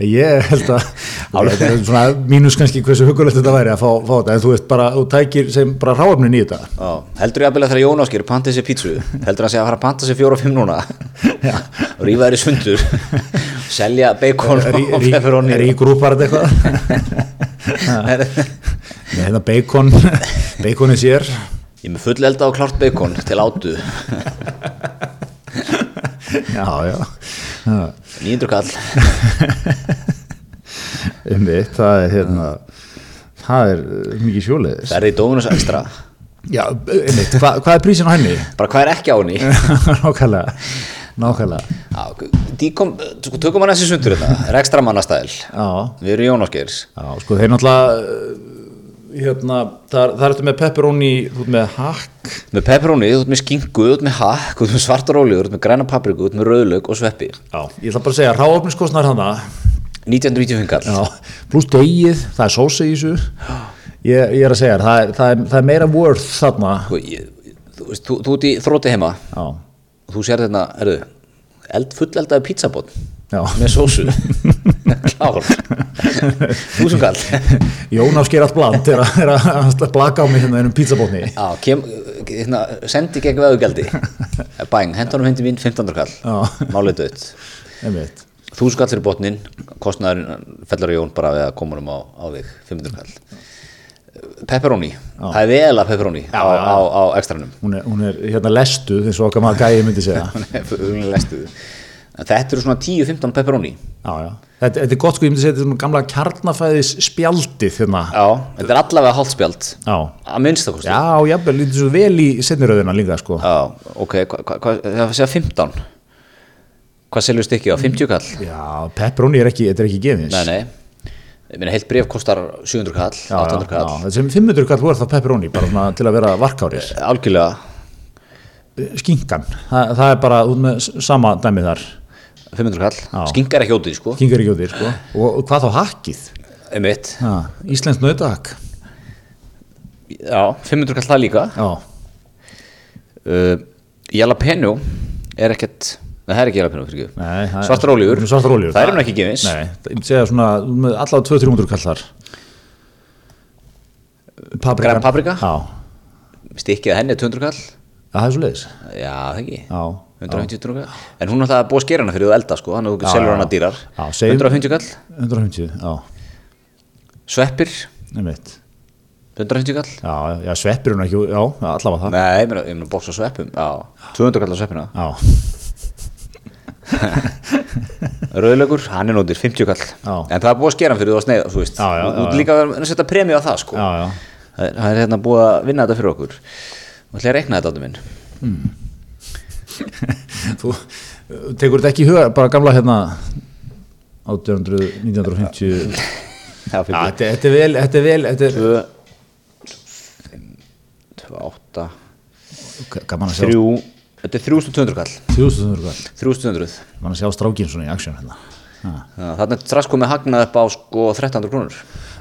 Speaker 2: Ég held að, þetta er svona mínus kannski hversu hugulegt þetta væri að fá, fá þetta, en þú veist bara, þú tækir sem bara ráfnin í þetta.
Speaker 1: Já, heldur ég að byrja þegar Jón Áskir panta sér pizzu, heldur hann sé að fara að panta sér fjóra og fimm núna, rífa þeir í sundur, selja bacon og pepperoni.
Speaker 2: Er í grúpar þetta eitthvað? Nei, þetta bacon, baconið sér.
Speaker 1: Ég er með full elda og klart bacon til átu,
Speaker 2: Já, já. já.
Speaker 1: 900 kall.
Speaker 2: Einmitt, það er hérna það er uh, mikið sjóliðis
Speaker 1: Það er í Dominos extra,
Speaker 2: Já, einmitt, hva, hvað er prísin á henni?
Speaker 1: bara hvað er ekki á henni?
Speaker 2: nákvæmlega, nákvæmlega
Speaker 1: Já, díkom, sko, tökum hann þessi sundur þetta, er ekstra mannastæl
Speaker 2: Já,
Speaker 1: Við erum Jón Áskeirs
Speaker 2: já sko þeir náttúrulega uh, hérna, þar, þar ertu með pepperoni þú ert með hakk
Speaker 1: Með pepperoni, þú ert með skinku, þú ert með hakk, þú ert með svartar olíu, þú ert með græna papriku, þú ert með rauðlaug og sveppi
Speaker 2: Já, ég ætla bara að segja ráöfniskostnar hana
Speaker 1: 1995 kall,
Speaker 2: Já, pluss degið, það er sósi í þessu Ég, ég er að segja, þér, það er, það, er, það er meira worth þarna
Speaker 1: sko, ég- þú veist, þú, þú ert í þróti heima
Speaker 2: Já,
Speaker 1: og Þú sér þetta, erðu, eld, fulleldaði pizzabot
Speaker 2: já
Speaker 1: með sósu Klár Þúsund kall
Speaker 2: Jón ásker allt bland er að, er að blaka á mig hérna einum pizzabotni
Speaker 1: Já, kem, hérna, sendi gegn veðugjaldi bæng, hendanum hindi mín 1500
Speaker 2: Já.
Speaker 1: kall málið dött
Speaker 2: einmitt
Speaker 1: þú skall fyrir botnin, kostnaðurinn fellar Jón bara við að koma um á, á þig 500 kall pepperoni, það er vel að pepperoni á, á, á ekstranum
Speaker 2: hún er, hún er hérna lestuð eins og okkar maður gæði myndi segja
Speaker 1: Hún lestu. En þetta eru svona 10-15 pepperoni
Speaker 2: já, já. Þetta, þetta er gott sko, ég myndi segja þetta er svona gamla kjarnafæðis spjaldið hérna.
Speaker 1: Já, þetta er allavega hálfspjald
Speaker 2: já,
Speaker 1: að minnstakosti
Speaker 2: já, jafnvel, lítið svo vel í setniröðina líka sko
Speaker 1: Já, ok, hva- hva- hvað- það sé að 15 Hvað seljum stykki á? 50 kall?
Speaker 2: já, pepperoni er ekki, þetta er ekki gefins
Speaker 1: Nei, nei Ég meina, heilt bref kostar 700 kall,
Speaker 2: já,
Speaker 1: 800
Speaker 2: já,
Speaker 1: kall
Speaker 2: já, þetta sem 500 kall voru það pepperoni bara svona til að vera varkárir
Speaker 1: Algjörlega,
Speaker 2: skinkan, Þa, það er bara út með s- sama dæmið þar
Speaker 1: 500 kall
Speaker 2: Já.
Speaker 1: Skinkar ekki ótið, sko
Speaker 2: kingar ekki út í sko og, og hvað þá hakkið
Speaker 1: Einmitt,
Speaker 2: ha, Íslensk nautahakk
Speaker 1: já, 500 kall það líka
Speaker 2: já,
Speaker 1: uh, Jalapeno er ekkert Nei, það er ekki jalapeno, fyrir
Speaker 2: Nei, það
Speaker 1: ekki
Speaker 2: er- Mm,
Speaker 1: Svartar ólífur,
Speaker 2: svartar olíur
Speaker 1: það er hún ekki gefins
Speaker 2: nei, það- ég myndi segja svona með allavega 200-300 kall þar paprika
Speaker 1: Græn paprika?
Speaker 2: já,
Speaker 1: Stykkið að henni er 200 kall
Speaker 2: Já, það er svo leiðis
Speaker 1: Já, það ekki
Speaker 2: já,
Speaker 1: 150 kall En hún er alltaf búið að skera hana fyrir þú elda, sko Þannig að þú
Speaker 2: Já,
Speaker 1: selur
Speaker 2: já.
Speaker 1: hana dýrar
Speaker 2: Já, segjum-
Speaker 1: 150 kall
Speaker 2: 150 já,
Speaker 1: Sveppir,
Speaker 2: einmitt
Speaker 1: 150 kall
Speaker 2: já, já, sveppir hún ekki, já, allavega það
Speaker 1: Nei, ég meina, ég meina bóks á sveppum Já, 200 kall á sveppina
Speaker 2: já,
Speaker 1: Rauðlaugur, hann er nótir, 50 kall
Speaker 2: Já.
Speaker 1: En það er búið að skera hann fyrir þú að sneiða, þú veist
Speaker 2: Já, já,
Speaker 1: Þú- Þú
Speaker 2: já,
Speaker 1: ert líka að vera að setja premju á það, sko
Speaker 2: já, já
Speaker 1: Það er- það er hérna búið að vinna þetta fyrir okkur Þú ætla að reikna þetta áttu minn
Speaker 2: þú uh, tekur þetta ekki í huga bara gamla hérna 800, 1950
Speaker 1: Já,
Speaker 2: Já,
Speaker 1: fyrir
Speaker 2: þetta, þetta er vel, þetta er vel þetta er,
Speaker 1: 2 5 8
Speaker 2: K- gaman að sjá
Speaker 1: 3 Þetta er 3200 kall
Speaker 2: 3200 kall
Speaker 1: 3200
Speaker 2: gaman að sjá strákin svona í aksjón hérna Ha.
Speaker 1: Já, Þarna er strax komið hagnað upp á sko 1300 krónur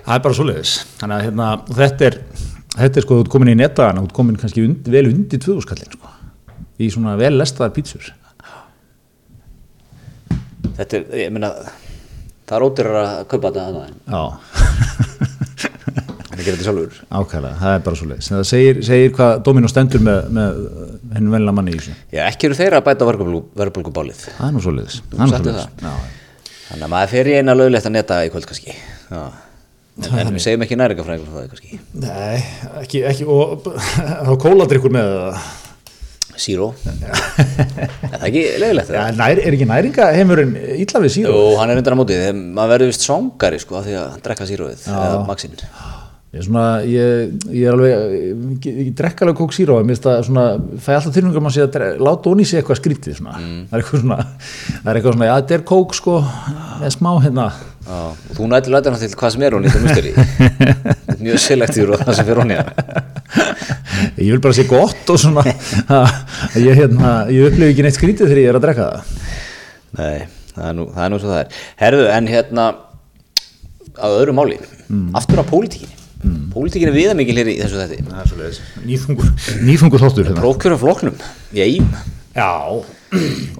Speaker 2: það er bara svoleiðis þannig að hérna, og þetta er þetta er sko, þú ert komin í nettaðan þú ert komin kannski und, vel undir 2000 kallin sko. í svona vel lestaðar pítsur
Speaker 1: Þetta er, ég meina Það er ódýrar að kaupa þetta þarna en
Speaker 2: já,
Speaker 1: Það gerir þetta sjálfur
Speaker 2: ákæðlega, það er bara svoleiðis það segir, segir hvað Dominó stendur með, með hennu venlega manni í þessu
Speaker 1: Já, ekki eru þeirra að bæta verðbólgubálið
Speaker 2: það er nú svoleiðis, það er nú
Speaker 1: sagðir
Speaker 2: svoleiðis. Já,
Speaker 1: Þannig að maður fer í eina löglegt að neta í kvöld kannski Já. En, en við segjum ekki næringafræðingur frá það kannski
Speaker 2: Nei, ekki, ekki og þá kóladrykkur með það.
Speaker 1: Zero Er það ekki löglegt
Speaker 2: Ja,
Speaker 1: það?
Speaker 2: nær, er ekki næringa heimurinn illa við
Speaker 1: Jú,
Speaker 2: síru?
Speaker 1: hann er undan á móti þegar maður verður vist svangari sko af því að hann drekka síróið eða maxinn
Speaker 2: Ég, er svona, ég, ég er alveg, ég, ég drekka alveg kók síru og ég minnst að svona, fæ alltaf tilfengar maður sé að dre- láta onni sé eitthvað skrítið svona. Það er eitthvað svona, það er eitthvað svona, já þetta er kók sko, með smá hérna.
Speaker 1: Já, og þú nætti lætir hann til hvað sem er hún í þetta musteri Mjög selektífur á það sem fer hún í það
Speaker 2: Ég vil bara sé gott og svona, að ég, hérna, ég upplifi ekki neitt skrítið þegar ég er að drekka það.
Speaker 1: Nei, það er nú, það er nú svo það er Herðu, en hérna að öðru máli, aftur á pólitíkinni mm. Pólitíkinni er viðamikil hér í þessu þetta
Speaker 2: Það er svolítið, nýþungur, nýþungur þóttur hérna.
Speaker 1: Prókjörum flóknum, ég
Speaker 2: Já,
Speaker 1: og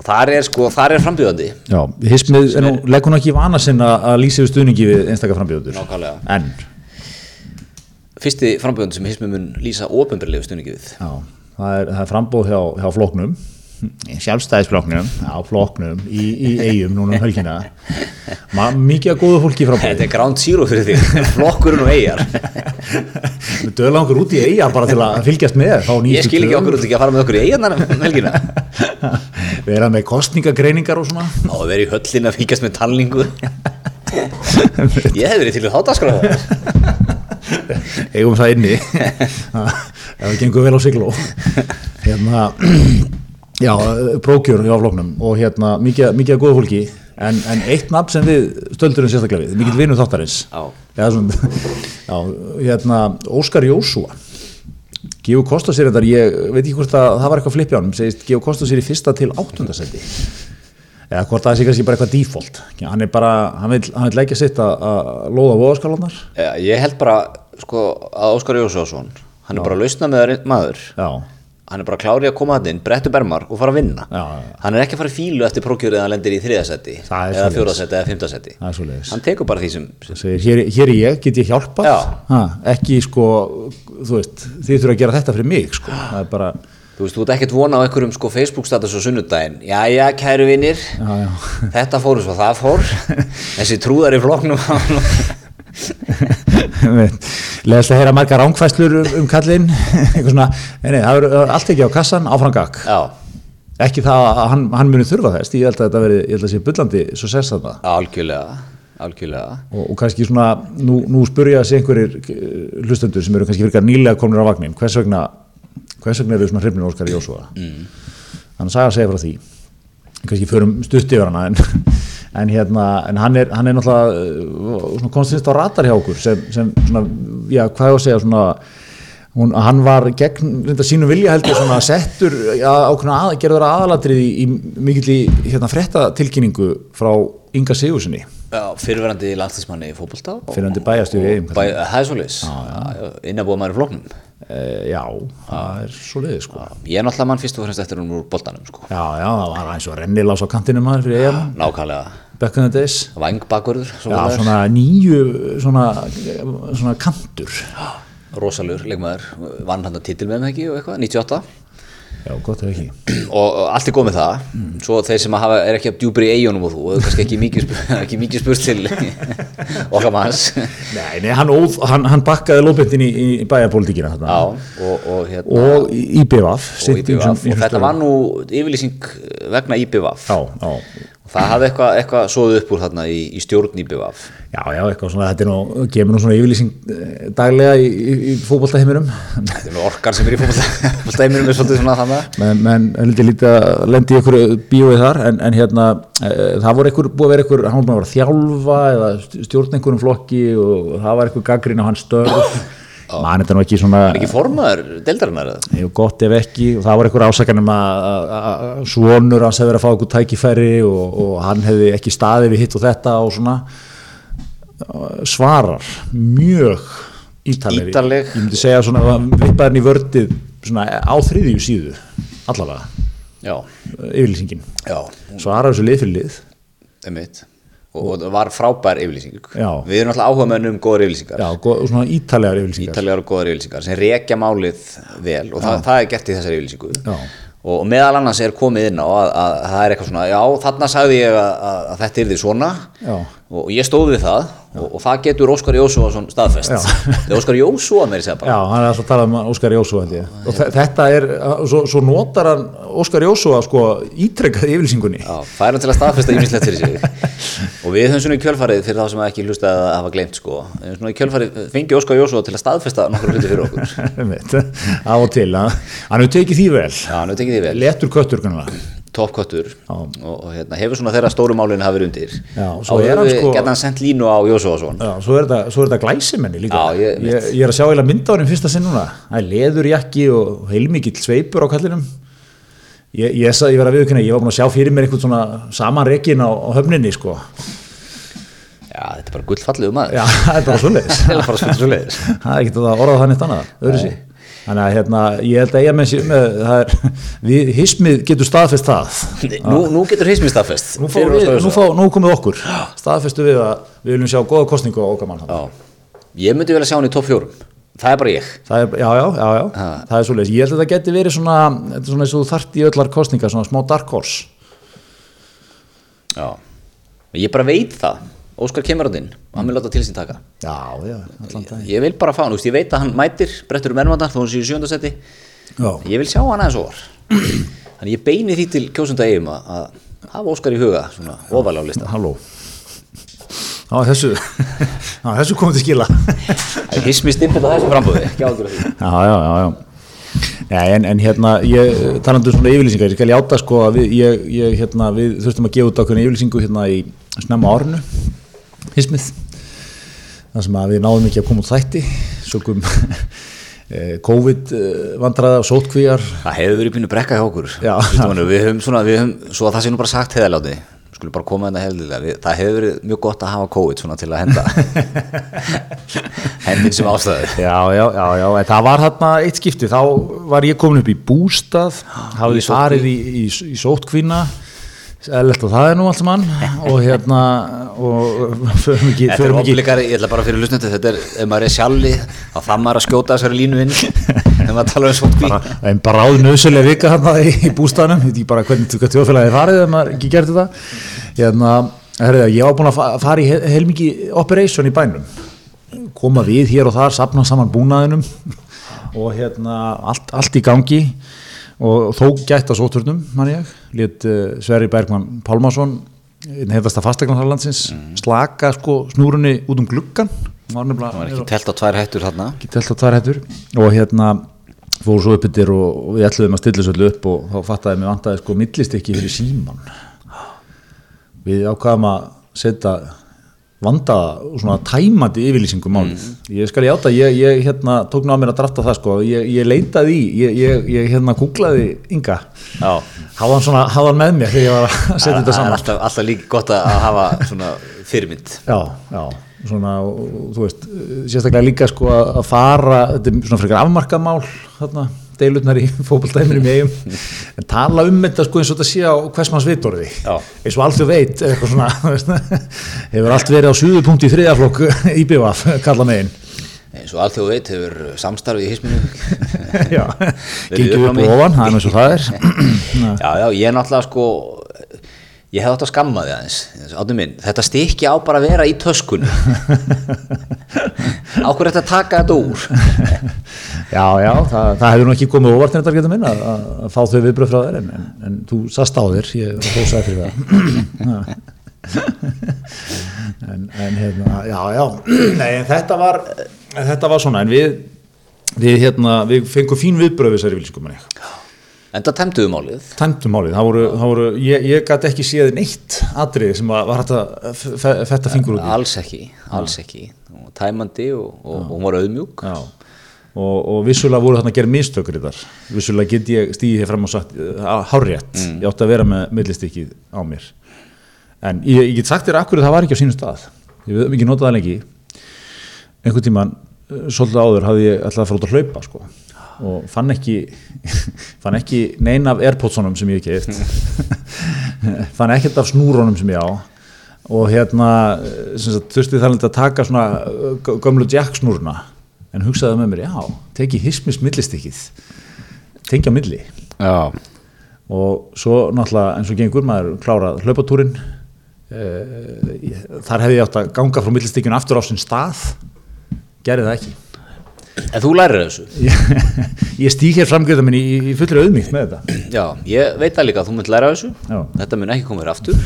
Speaker 1: þar er sko, þar er frambjöðandi
Speaker 2: Já, hismið, en hún leggur hún ekki í vana sinn að að lýsa yfir stuðningi við einstaka frambjóðundur.
Speaker 1: Nákvæmlega.
Speaker 2: En,
Speaker 1: Fyrsti frambjöðandi sem hismið mun lýsa ofinberlegu stundingi við
Speaker 2: já, það er, það er frambóð hjá, hjá floknum, sjálfstæðisfloknum, já, floknum, í, í eigum núna um helgina. Ma, mikið að góðu fólki í
Speaker 1: Þetta
Speaker 2: frambóð.
Speaker 1: er ground zero fyrir því, flokkurinn og eigjar
Speaker 2: Við döðla okkur út í eiga bara til að fylgjast með. fá
Speaker 1: Ég
Speaker 2: nýjustu
Speaker 1: skil ekki
Speaker 2: tölur.
Speaker 1: okkur út ekki að fara með okkur í eigjarnar um helgina
Speaker 2: Við erum með kostningagreiningar og svona.
Speaker 1: Á að vera í höllin að fíkast með talningu Ég hef verið til að þátt að skrafa
Speaker 2: eigum það inni ef það gengur vel á sigló hérna já, prókjör hjá floknum og hérna, mikið, mikið að góða fólki en, en eitt nafn sem við stöldurum sérstaklega við, mikill vinur þáttarins
Speaker 1: Já.
Speaker 2: Eða svona, já, hérna, Óskar Jósúa Geo Kosta sér þetta, ég veit ekki hvort að það var eitthvað flippi á hann, segist Geo Kosta sér í fyrsta til áttundasendi eða hvort að það sé kannski bara eitthvað default hann er bara, hann vil, hann vil leggja sitt að að lóða voðaskalarnar
Speaker 1: Já, ég held bara sko, að Óskar Jósásson hann er bara lausna með maður
Speaker 2: já,
Speaker 1: hann er bara klárið að koma hann inn, brettu bermar og fara að vinna
Speaker 2: Já, já, já.
Speaker 1: hann er ekki að fara í fílu eftir prókjörið að hann lendir í þriðasetti
Speaker 2: Það er
Speaker 1: eða
Speaker 2: svoleiðis.
Speaker 1: fjórasetti eða fymtasetti
Speaker 2: Það er svoleiðis.
Speaker 1: hann tekur bara því sem
Speaker 2: Það segir, hér, hér er ég, get ég hjálpað
Speaker 1: Já.
Speaker 2: ha, ekki sko þú veist, þið þurfa að gera þetta fyrir mig sko. það er bara,
Speaker 1: þú veist, þú ert ekkert vona á einhverjum sko, Facebook status á sunnudaginn jæja, kæru vinnir
Speaker 2: já, já.
Speaker 1: þetta fór eins og það fór þessi trúðar í floknum hann
Speaker 2: leðast að heyra margar rángfæslur um, um kallinn eitthvað svona, nei, nei, það er, það er allt ekki á kassan áfram gakk,
Speaker 1: já,
Speaker 2: ekki það að hann, hann muni þurfa þess, ég held að þetta veri ég held að sé bullandi svo sess þarna
Speaker 1: algjörlega algjörlega
Speaker 2: og, og kannski svona, nú, nú spurja sig einhverjir eh, hlustendur sem eru kannski virkar nýlega komnir á vagnin, hvers vegna hvers vegna eru svona hrifnir Óskar Jósúa mm. þannig að saga segja frá því kannski förum stutt yfir hana en, en hérna, en hann er, hann er náttúrulega eh, svona konstins á ratar hjá okkur sem, sem svona, já, hvað ég á að segja svona Hún, hann var gegn reynda sínum vilja heldur svona settur ja, ákveðna að, gerður aðalatrið í, í mikill hérna frettatilkynningu frá Inga Sigursinni
Speaker 1: Já, fyrirverandi landslæsmanni í fótbolta og-
Speaker 2: Fyrrverandi bæjarstjóri í Eyjum,
Speaker 1: og bæ- Það er svoleiðis Innabúið maður í flóknum
Speaker 2: Uh, já, það er svo leiðið sko.
Speaker 1: Ég er náttúrulega mann fyrst og fremst eftir hún úr boltanum sko.
Speaker 2: Já, já, það var eins og rennilás á kantinu maður fyrir eigum,
Speaker 1: Nákvæmlega
Speaker 2: back in the days.
Speaker 1: Vængbakurður
Speaker 2: Já, svona nýju, svona, svona kantur.
Speaker 1: Rosalur, leikmaður Vann hann að titil með mig ekki og eitthvað 98
Speaker 2: Já, gott ef ekki.
Speaker 1: og, og allt er góð með það Svo þeir sem að hafa, er ekki að djúpri í eigunum og þú og kannski ekki mikið, spurt- ekki mikið spurt til okkar manns Já,
Speaker 2: Nei, nei, hann, óð, hann, hann bakkaði lóbindin í, í bæjarpólitíkina þarna.
Speaker 1: og, og hérna
Speaker 2: Og í í IBVF.
Speaker 1: Og,
Speaker 2: sitt
Speaker 1: IPVAF.
Speaker 2: ýmsum- ýmsum
Speaker 1: og þetta
Speaker 2: stöðum.
Speaker 1: var nú yfirlýsing eh, vegna IPVAF
Speaker 2: Já, já,
Speaker 1: og það hafði eitthvað eitthva svoðu upp úr þarna í, í stjórn IPVAF
Speaker 2: já, já, eitthvað svona, þetta er nú, gefur nú svona yfirlýsing eh, daglega í, í, í fótboltaheiminum.
Speaker 1: Þetta er nú orkan sem er í fólkstæminum er svolítið svona þannig
Speaker 2: menn, menn lítið lítið að lendi í ykkur bíóið þar en, en hérna e, það voru ykkur, búið að vera ykkur, hann var búin að vera að þjálfa eða stjórna einhverjum flokki og það var ykkur gaggrín á hans störf mann þetta nú ekki svona
Speaker 1: Ekki formaður deildarinnar eða?
Speaker 2: Jú, gott ef ekki og það var einhver ásakanum að að svonur hans hefði verið að fá einhver tækifæri og, og hann hefði ekki staðið við hitt og þetta og svona svarar mjög ítalegri
Speaker 1: Ítarleg.
Speaker 2: ég myndi segja svona vippaðin í vördið svona á þriðju síðu allavega
Speaker 1: Já,
Speaker 2: yfirlýsingin
Speaker 1: já,
Speaker 2: svarar þessu lið fyrir lið
Speaker 1: einmitt og, og það var frábær yfirlýsing
Speaker 2: Já.
Speaker 1: Við erum alltaf áhuga mönnum góðar yfirlýsingar
Speaker 2: já, go- og svona ítalegar yfirlýsingar
Speaker 1: Ítaljar og góðar yfirlýsingar sem rekja málið vel og það, það er gert í þessari yfirlýsingu
Speaker 2: Já.
Speaker 1: og og meðal annars er komið inn á að, að, að það er eitthvað svona, já þarna sagði ég að, að, að þetta yrði svona
Speaker 2: Já.
Speaker 1: og, og ég stóð við það og, og það getur Óskar Jósúa staðfest þegar Óskar Jósúa meiri segja bara
Speaker 2: Já, hann er alltaf að tala um Óskar Jósú held ég. Og þe- þetta er, svo, svo notar hann Óskar Jósú að sko ítrekkaði yfirlýsingunni.
Speaker 1: Já, færum til að staðfesta ýmislegt fyrir sig og við höfum svona í kjölfarið fyrir þá sem ekki hlusta að hafa gleymt sko við höfum svona í kjölfarið fengi Óskar Jósó til að staðfesta nokkur hluti fyrir okkur
Speaker 2: Einmitt. Af og til, hann hann hefur tekið því vel.
Speaker 1: Já, nú tekið því vel,
Speaker 2: Letur köttur kannlega.
Speaker 1: toppkottur og, og hérna, hefur svona þeirra stóru málinu hafa verið undir
Speaker 2: Já,
Speaker 1: og
Speaker 2: svo er hann sko-
Speaker 1: Geta hann sendt línu á Jósóasson
Speaker 2: Já, svo er þetta, svo er þetta glæsimenni líka.
Speaker 1: Já, ég-
Speaker 2: ég, ég er að sjá eiginlega mynda á hann fyrsta sinn núna. Það er leðurjakki og heilmikill sveipur á kallinum. Ég, ég sagði, ég var að viðkynna, ég var búin að sjá fyrir mér einhvern svona samanreikin á, á höfninni sko.
Speaker 1: Já, þetta er bara um gullfallegu maður
Speaker 2: Já, það er bara svoleiðis.
Speaker 1: Það er bara svolítið svoleiðis.
Speaker 2: Það er ekki að orða það neitt annað, öðru sér. Þannig að hérna, ég held að ég menn sér með, það er, við, hismið getur staðfest það.
Speaker 1: nú, nú getur hismi staðfest
Speaker 2: Nú, fá
Speaker 1: fyrir
Speaker 2: við,
Speaker 1: Óskar
Speaker 2: nú,
Speaker 1: Jósó.
Speaker 2: fá, nú komið okkur, staðfestu við að við viljum sjá góða kostningu á okkar mann.
Speaker 1: Já. Ég myndi vel að sjá hann í topp fjórum Það er bara ég
Speaker 2: Það er, já, já, já, já, það er svoleiðis. Ég held að það geti verið svona, þetta er svona eins og þú þart í öllar kostningar, svona smá dark horse.
Speaker 1: Já. Ég bara veit það Óskar kemur hann inn og hann vil láta til sín taka
Speaker 2: Já, já, allan dag.
Speaker 1: Ég vil bara fá hann, þú veist, ég veit að hann mætir brettur um ermandar þó hann sé í sjöndasetti
Speaker 2: Já,
Speaker 1: ég vil sjá hann aðeins ofar þannig ég beini því til kjósunda eigum að, að hafa Óskar í huga svona ofalega á lista
Speaker 2: halló. Já, þessu, já, þessu komið til skila.
Speaker 1: það er hismi stimpill á þessu frambúði ekki ágjur af því
Speaker 2: Já, já, já, já. Nei, en, en hérna, ég, talandi um svona yfirlýsingar, ég skal játa sko að við, ég, ég, hérna, við þurftum að gefa út ákveðinu yfirlýsingu hérna í snemma á árinu, hismið, þar sem að við náðum ekki að koma út þætti, sökum eh, COVID eh, vandræða og sótkvíjar.
Speaker 1: það hefur verið pínu brekka hjá okkur
Speaker 2: Já.
Speaker 1: Kristofan, við höfum svona, við höfum, svo að það sé nú bara sagt heðaláti skulum bara koma þetta heldilega við, það hefur verið mjög gott að hafa COVID svona til að henda hendin sem ástæðu
Speaker 2: Já, já, já, já, en það var þarna eitt skipti, þá var ég komin upp í bústað,
Speaker 1: í
Speaker 2: hafði farið í, í, í sótkvína, eðlert og það er nú allt mann og hérna, og förum ekki,
Speaker 1: Þetta er
Speaker 2: förum ekki,
Speaker 1: obligari, ég ætla bara fyrir lusnandi þetta er, ef maður er sjalli þá það maður að skjóta þessari línu inn ef maður tala um sótkví
Speaker 2: en bara áður nöðsynlega vika þarna í, í bústaðnum, veit ég bara hvernig tukka tjóðfélagið farið ef maður ekki gerði þetta, hérna, herrðu, ég var búin að fa- fara í hel- heilmikið operation í bænum, koma við hér og þar, sapna saman búnaðinum og hérna allt, allt í gangi og þó gætt að sóturnum, mann ég, lét uh, Sverri Bergmann Pálmarsson, einn hefðasta fastegnarlandsins, slaka sko snúrunni út um gluggan, hún var nefnilega
Speaker 1: Mm. það var ekki telt á tvær hættur þarna
Speaker 2: ekki telt á tvær hættur og hérna fóru svo upp yfir og, og við ætluðum að stilla þessu öllu upp og þá fattaði mér vantaði sko millistykki fyrir síman við ákvaðum að setja vandaða og svona tæmandi yfirlýsingu málið. Ég skal játa, ég, ég hérna tók nú að mér að drafta það sko, ég, ég leitaði í, ég, ég, ég hérna googlaði Inga,
Speaker 1: Já.
Speaker 2: hafa hann svona, hafa hann með mér þegar ég var að setja
Speaker 1: það
Speaker 2: þetta
Speaker 1: það
Speaker 2: saman.
Speaker 1: er alltaf, alltaf líka gott að hafa svona fyrirmynd
Speaker 2: já, já svona, og- og þú veist, eh, sérstaklega líka sko að að fara, þetta er svona frekar afmarkamál þarna, deilutnar í fótballtæminum í eigum, en tala um þetta sko eins og þetta sé á hversmanns vitorði
Speaker 1: Já.
Speaker 2: eins og allt þau veit, eitthvað svona þú veist, hefur allt verið á suðupunkti í þriðaflokk í BVF, kalla megin
Speaker 1: eins og alþjóð veit hefur samstarfið í hisminu
Speaker 2: já,
Speaker 1: Verið upp á
Speaker 2: gengjum upp
Speaker 1: mig.
Speaker 2: og ofan, það er eins og það er Mm.
Speaker 1: Já, já, ég er náttúrulega sko ég hef átt að skamma því aðeins áttu minn, þetta stykki á bara að vera í töskunum á hverju þetta taka þetta úr
Speaker 2: já, já, það, það hefur nú ekki komið óvart en þetta getur minna, að, að fá þau viðbröð frá þér en, en, en þú sast á þér ég hósaði fyrir það Ha. en, en hérna, já, já nei, en þetta var en þetta var svona, en við við, hérna, við fengum fín viðbröð við þessari vilskum en ég,
Speaker 1: en það temduðu málið
Speaker 2: tæmdum málið það voru, það voru, ég, ég gat ekki séð neitt atrið sem að var hægt að f- f- fetta fingur út í
Speaker 1: alls ekki, alls ekki Hún var tæmandi og, og, og hún var auðmjúk
Speaker 2: Já, og, og vissulega voru þarna að gera mistökur í þar. Vissulega get ég stíðið hér fram og sagt, uh, hárétt, ég átti að vera með millistykkið á mér. En ég, ég get sagt þér akkur það var ekki á sínum stað. Ég við höfum ekki notað það lengi. Einhvern tíman, svolítið áður, hafði ég alltaf að fara út að hlaupa, sko. Og fann ekki, fann ekki neina af airpodsunum sem ég hef keift. fann ekkert af snúrónum sem ég á. Og hérna, eh, sem sagt, þurfti þar að taka svona eh, gö- gömlu jacksnúruna. En hugsaði með mér, já, teki hismis millistykkið. Tengja á milli
Speaker 1: Já,
Speaker 2: og svo náttúrulega eins og gengur maður klárað hlaupatúrin Eh, þar hefði ég átt að ganga frá millistykjun aftur á sinn stað gerði það ekki
Speaker 1: en þú lærir þessu
Speaker 2: ég, ég stík hér framgjöða minn í, í fullri auðmýtt með þetta
Speaker 1: Já, ég veit það líka að þú mynd læra þessu
Speaker 2: Já.
Speaker 1: þetta mun ekki koma þér aftur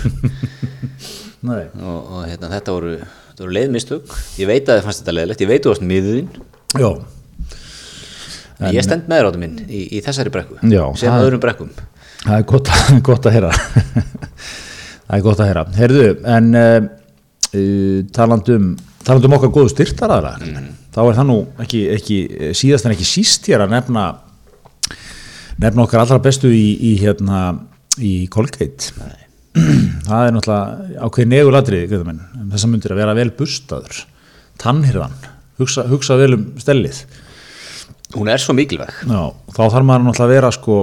Speaker 2: Nei.
Speaker 1: og, og hérna, þetta voru, þetta voru leiðmistök ég veit að þið fannst þetta leiðilegt, ég veit þú varst miðurinn
Speaker 2: já,
Speaker 1: en ég stend með þér áttu minn í, í þessari brekku
Speaker 2: Já,
Speaker 1: sem
Speaker 2: það-
Speaker 1: öðrum brekkum
Speaker 2: það er gott, að- gott að heyra það er gott að heyra heyrðu, en uh, talandum talandum okkar góðu styrtaraðra þá er það nú ekki, ekki eh, síðast en ekki síst hér að nefna nefna okkar allra bestu í, í hérna í Colgate það er náttúrulega ákveðin negulatri minn, um þessar myndir að vera vel bustaður tannhyrðan, hugsa, hugsa vel um stellið
Speaker 1: hún er svo mikilvæg
Speaker 2: Já, þá þarf maður náttúrulega að vera sko,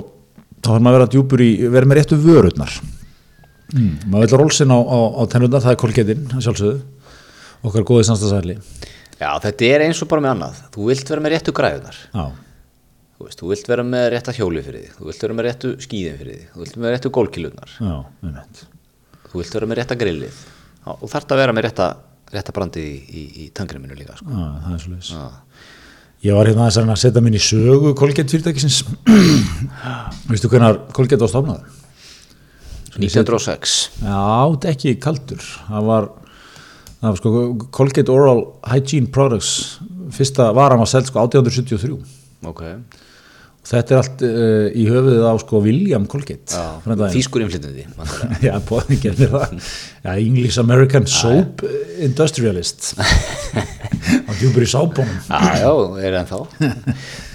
Speaker 2: þá þarf maður að vera djúpur í vera með réttu vörurnar mm. maður vil rólsinn á, á, á tennurnar það er Colgate-in, að sjálfsögðu okkar góði samstagsæli
Speaker 1: já, þetta er eins og bara með annað þú vilt vera með réttu græðunar
Speaker 2: Já,
Speaker 1: þú, veist, þú vilt vera með rétta hjóli fyrir þig þú vilt vera með réttu skíðin fyrir þig þú vilt vera með réttu gólkilunar
Speaker 2: já, einmitt
Speaker 1: þú vilt vera með rétta grillið Já, og þarf að vera með rétta, rétta brandið í, í, í tangreminu líka sko.
Speaker 2: Já, það er svo
Speaker 1: Já.
Speaker 2: Ég var hérna þess að reyna að setja minn í sögu Colgate fyrirtækisins Veistu hvernar Colgate var stofnaður?
Speaker 1: 1906
Speaker 2: Já, þetta er ekki kaldur það var, það var sko, Colgate Oral Hygiene Products fyrsta varan var seld sko 1873
Speaker 1: ok
Speaker 2: þetta er allt uh, í höfuðið á sko William Colgate frænda þinn.
Speaker 1: fískur innflytandi væntanlega.
Speaker 2: Já, bóðingin er það Já, English American Soap Industrialist á djúpur í sápunum
Speaker 1: Já, já, er ennþá uh,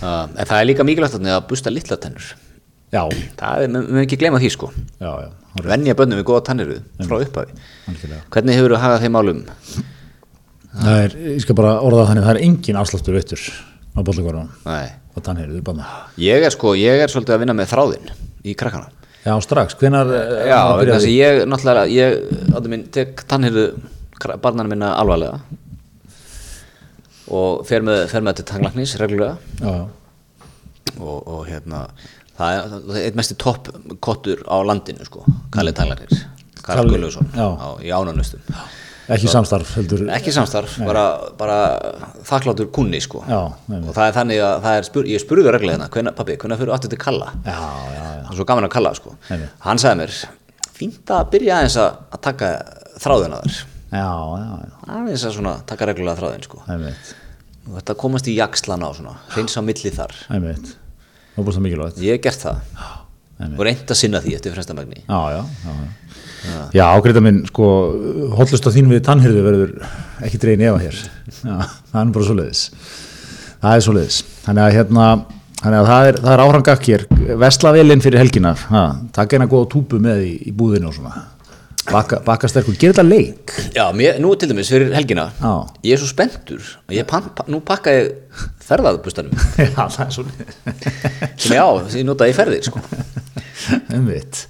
Speaker 1: En það er líka mikilvægt þarna að busta litla tennur
Speaker 2: Já,
Speaker 1: Það er, við við ekki gleyma því sko
Speaker 2: já, já,
Speaker 1: venja bönnum við góða tanniru frá upphafi
Speaker 2: Algjörlega.
Speaker 1: hvernig hefur þú hagað þeim álum
Speaker 2: það er, ég skal bara orða það þannig það er engin afsláttur veittur á bollakvarðan
Speaker 1: Nei.
Speaker 2: og þannig er þið bara
Speaker 1: ég er sko, ég er svolítið að vinna með þráðinn í krakkana
Speaker 2: já strax, eh, hvenar
Speaker 1: já, vegna þess að ég náttúrulega ég áttu minn tek tannhyrðu barnana minna alvarlega og fer með, fer með þetta tanglaknis reglulega
Speaker 2: já, já.
Speaker 1: og, og hérna það er, það er eitt mesti topp kottur á landinu sko, Kalli Tanglaknis Karl
Speaker 2: Kalli,
Speaker 1: Guðlaugsson
Speaker 2: já.
Speaker 1: á- í ánanustum
Speaker 2: ekki samstarf heldur
Speaker 1: ekki samstarf, bara, bara þakklátur kunni sko
Speaker 2: Já, nei, nei.
Speaker 1: og það er þannig að það er spur, ég spurði reglulega hérna, hvenær- pabbi, hvernig fyrir aftur til Kalla
Speaker 2: já, já, já,
Speaker 1: það er svo gaman að kalla það, sko
Speaker 2: Nei, nei.
Speaker 1: hann sagði mér, fínt að byrja aðeins að að taka þráðina þar
Speaker 2: já, já, já.
Speaker 1: aðeins að svona taka reglulega þráðin sko
Speaker 2: Einmitt,
Speaker 1: og þetta komast í jakslan á svona reyns á milli þar,
Speaker 2: einmitt. Það er búin svo mikilvægt.
Speaker 1: ég hef gert það
Speaker 2: Einmitt.
Speaker 1: og reynt að sinna því eftir fremstamagni
Speaker 2: Já, já, já. Já, já ágreita minn, sko, hollust á þín við tannhyrðu verður ekki dregin efa hér. Já, það er nú bara svo leiðis. Það er svo leiðis. Þannig að hérna, þannig að það er, það er áhrangak hér. Vesla velinn fyrir helgina. Ha, takk eina góða túpu með í, í búðinu og svona. Baka, baka sterkur. Gerir þetta leik?
Speaker 1: já, mér, nú til dæmis fyrir helgina
Speaker 2: Já.
Speaker 1: ég er svo spenntur og ég pan, pa, nú pakka ég ferðaðbustanum
Speaker 2: já, það er svo leiðis.
Speaker 1: sem ég á, sem ég notaði í ferðir sko
Speaker 2: Einmitt.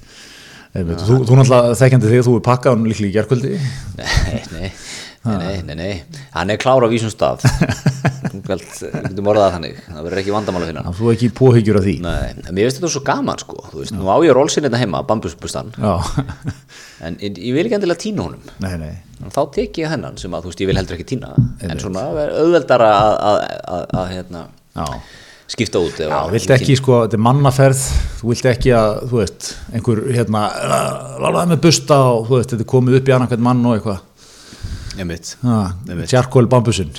Speaker 2: Einmitt. Þú, þú náttúrulega þekkjandi þig, þú er pakkaðan líklega í gerkvöldi.
Speaker 1: Nei, nei, nei, nei, nei, hann er klár á vísum stað Þú galt- við getum orðað það þannig, það verður ekki vandamál að finna
Speaker 2: Það þú ekki póhyggjur af því.
Speaker 1: Nei, en mér finnst þetta svo gaman sko þú veist, nú á ég rólsinn þetta heima, bambusbustan
Speaker 2: Já.
Speaker 1: en ég ég vil ekki endilega tína honum
Speaker 2: Nei, nei,
Speaker 1: en þá tek ég hennan sem að þú veist, ég vil heldur ekki tína en svona er auðveldara að, að, að, að hérna,
Speaker 2: já.
Speaker 1: skipta út ef
Speaker 2: Já,
Speaker 1: að-
Speaker 2: vilt ekki, sko, þetta er mannaferð, þú vilt ekki að, þú veist, einhver, hérna, láta það með busta og, þú veist, þetta er komið upp í annan hvern mann og eitthvað.
Speaker 1: Einmitt.
Speaker 2: Já, tjarkól bambusinn.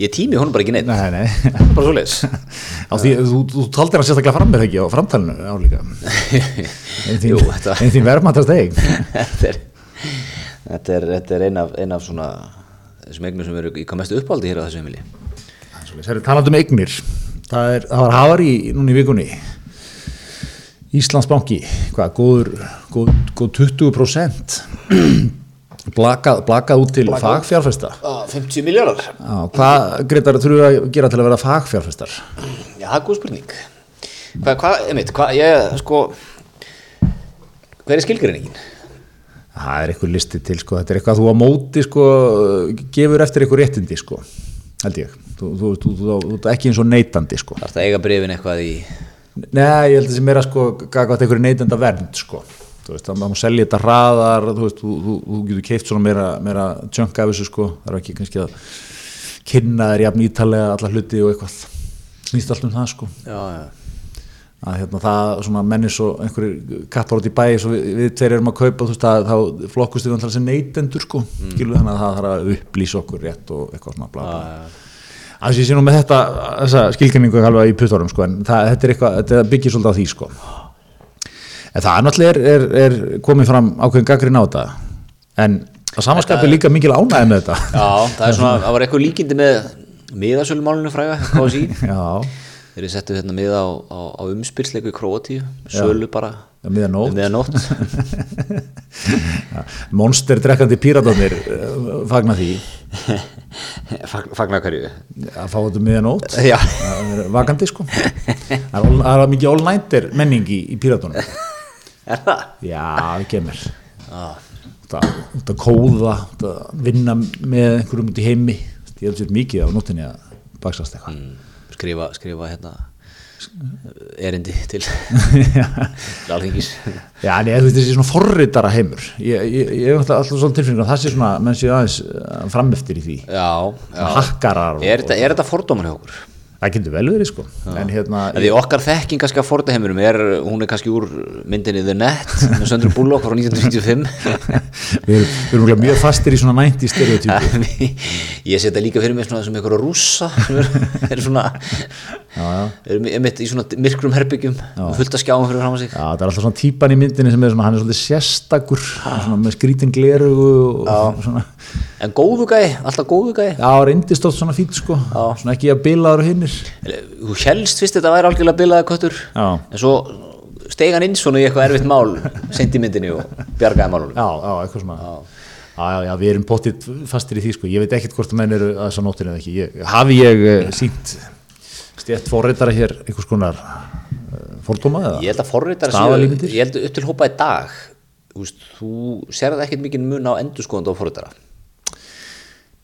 Speaker 1: ég tími honum bara ekki neitt
Speaker 2: Nei, nei,
Speaker 1: bara svo leis
Speaker 2: á því, þú, þú taldir hann sérstaklega fram með ekki á framtalinu álíka. En þín,
Speaker 1: Jú, þetta-
Speaker 2: en þín verðmantast eigin.
Speaker 1: þetta er, þetta er, þetta er ein, af, ein af svona þessum eignum sem eru í hvað mestu uppáldi hér á þessu heimili
Speaker 2: Það er talandi um eignir, það, er, það var hafar í, núna í vikunni, Íslandsbanki, hvað, góður, góð, góð 20% blakað, blakað út til fagfjárfesta.
Speaker 1: 50 miljardar
Speaker 2: Já, hvað, Gretar, þurfum við að gera til að vera fagfjárfestar?
Speaker 1: Já, það er góð spurning Hvað, hva, einmitt, hvað, ég, sko Hver er skilgreiningin?
Speaker 2: Það er eitthvað listi til, sko, þetta er eitthvað að þú á móti, sko, gefur eftir eitthvað réttindi, sko, held ég. Þú, þú, þú, þú, þú, þú ert ekki eins og neytandi, sko.
Speaker 1: Þarf það eiga brefin eitthvað í
Speaker 2: Nei, ég held að þessi meira, sko, gagvað einhverju neytenda vernd, sko. Þú veist, það má selja þetta hraðar, þú veist, þú, þú, þú getur keift svona meira, meira tjönk af þessu, sko, það er ekki kannski að kynna þér jafn ítalega alla hluti og eitthvað. Snýst allt um það, sko.
Speaker 1: Já, já
Speaker 2: að hérna, það svona mennir svo einhverjir kappar út í bæi svo við, við tveir erum að kaupa þú veist að þá flokkust við alltaf sem neytendur sko mm. þannig að það þarf að upplýsa okkur rétt og eitthvað svona bla bla að þessi sé nú með þetta þessa skilkenningu alveg í puttorum sko en það, þetta, er eitthvað, þetta byggir svolítið á því sko en það náttúrulega er, er, er komið fram ákveðin gaggrinn á þetta en að samanskapi líka mikil ánægð með þetta
Speaker 1: Já, það er svona, það var eitthvað líkindi með miðasölumálunum fræga, hvað sé
Speaker 2: já,
Speaker 1: Þeir eru settu hérna miða á, á, á umspyrsleiku í Króatíu, sölu bara um
Speaker 2: það miðan nótt
Speaker 1: Miða nótt
Speaker 2: monster drekkandi píratarnir eh, fagna því
Speaker 1: Fagnar hverju
Speaker 2: að fá þetta miðan nótt
Speaker 1: Já,
Speaker 2: Það er vakandi sko það er, all- það er mikið all-nighter menning í, í píratunum
Speaker 1: er það?
Speaker 2: já, það kemur það, það kóða það vinna með einhverjum út í heimi ég held sér mikið á nóttinni að baksast eitthvað
Speaker 1: Mm, Skrifa, skrifa hérna eh, erindi til til alþingis
Speaker 2: já, en ég þú veist þessi svona forritara heimur ég, ég, ég hef alltaf alltaf svona tilfinningu að það sé svona menn séu aðeins eh, frameftir í því
Speaker 1: Já, já
Speaker 2: hakkarar og,
Speaker 1: Er þetta, er þetta fordómar hjá okkur?
Speaker 2: það getur vel verið sko en hérna,
Speaker 1: Af Því okkar þekking kannski að forda heimurum er, hún er kannski úr myndinni The Net með Söndru Bullock frá 1995
Speaker 2: við erum, við erum örugglega mjög fastir í svona 90 stereotypu
Speaker 1: Ég setja líka fyrir mig svona sem einhverja rússa sem er, er svona er mitt í svona myrkrum herbyggjum og fullt að skjáum fyrir fram að sig
Speaker 2: Já, það er alltaf svona típan í myndinni sem er svona, hann er svolítið sérstakur, svona með skrítin gleru og og svona,
Speaker 1: En góðu gæi, alltaf góðu gæi
Speaker 2: já, reyndist oft svona fýtt sko, svona ekki að bilaður og hinnir.
Speaker 1: Þú helst fyrst þetta væri algjörlega bilaði köttur
Speaker 2: Já.
Speaker 1: en svo steig hann inn svona í eitthvað erfitt mál seint í myndinni og bjargaði málunum
Speaker 2: já, já, eitthvað svona já. Já, já, við erum pottitt fastir í því sko. ég veit ekkert hvort að menn eru að þessa nóttin eða ekki ég, hafi ég uh, sínt stjætt forreitara hér einhvers konar uh, fordóma eða?
Speaker 1: ég held að forritar
Speaker 2: Staðalímyndir?
Speaker 1: ég held upp til hópa í dag þú, veist, þú sér það ekkert mikið mun á endurskoðanda og forritara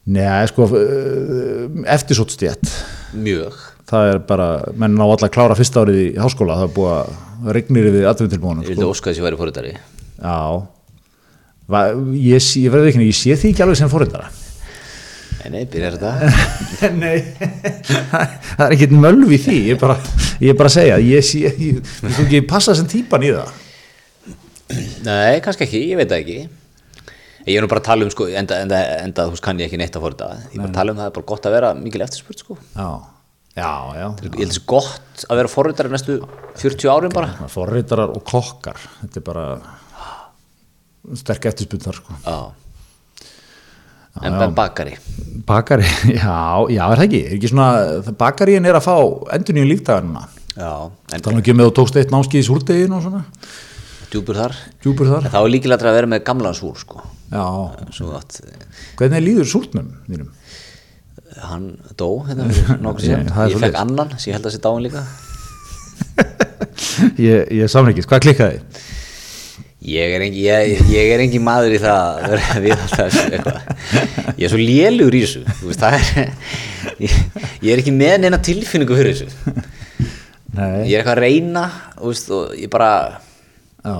Speaker 2: Nei, sko eh, eftirsótt stjætt
Speaker 1: mjög
Speaker 2: það er bara, menn á alla að klára fyrsta árið í háskóla, það er búið að regnir yfir atvinnutilbúinum
Speaker 1: ég
Speaker 2: sko.
Speaker 1: vildi óska þess að ég væri forritari
Speaker 2: Já Va, ég, sé- ég verði ekki, ég sé því ekki alveg sem forreitara
Speaker 1: nei, nei, byrjar þetta
Speaker 2: Nei, það er ekkert mölv í því, ég er bara, ég er bara að segja, ég sé, ég, ég, ég, ég passa sem típan í það.
Speaker 1: nei, kannski ekki, ég veit það ekki ég er nú bara að tala um sko enda, enda, enda þú veist kann ég ekki neitt að forrita ég er bara að tala um það, það er bara gott að vera mikil eftirspurt sko
Speaker 2: Já, já, já.
Speaker 1: ég held þessi gott að vera forritari næstu 40 árin bara
Speaker 2: Forreitarar og kokkar, þetta er bara sterk eftirspunn þar sko.
Speaker 1: Já. En Ben Bakari
Speaker 2: Bakari, já, já, er það ekki, er ekki svona, bakaríin er að fá endur nýjum lífdagarnina.
Speaker 1: Já, en
Speaker 2: Þannig ekki með þú tókst eitt námskið í súrdegin og svona,
Speaker 1: djúpur þar
Speaker 2: djúpur
Speaker 1: En
Speaker 2: þar.
Speaker 1: þá er líkilega að vera með gamla súr sko.
Speaker 2: Já,
Speaker 1: Svo að eh,
Speaker 2: hvernig líður súrnum þínum?
Speaker 1: hann dó hérna fyrir nokkur síðan
Speaker 2: Ég- það
Speaker 1: Ég
Speaker 2: er svoleiðis.
Speaker 1: fekk annan sem ég held að sé dáin líka
Speaker 2: Ég, ég samleikist, hvað klikkaði?
Speaker 1: Ég er engin, ég, ég er engin maður í það að vera við alltaf Ég er svo lélugur í þessu þú veist, það er, ég, ég er ekki með neina tilfinningu fyrir þessu
Speaker 2: Nei,
Speaker 1: Ég er eitthvað að reyna þú veist, og ég bara
Speaker 2: já,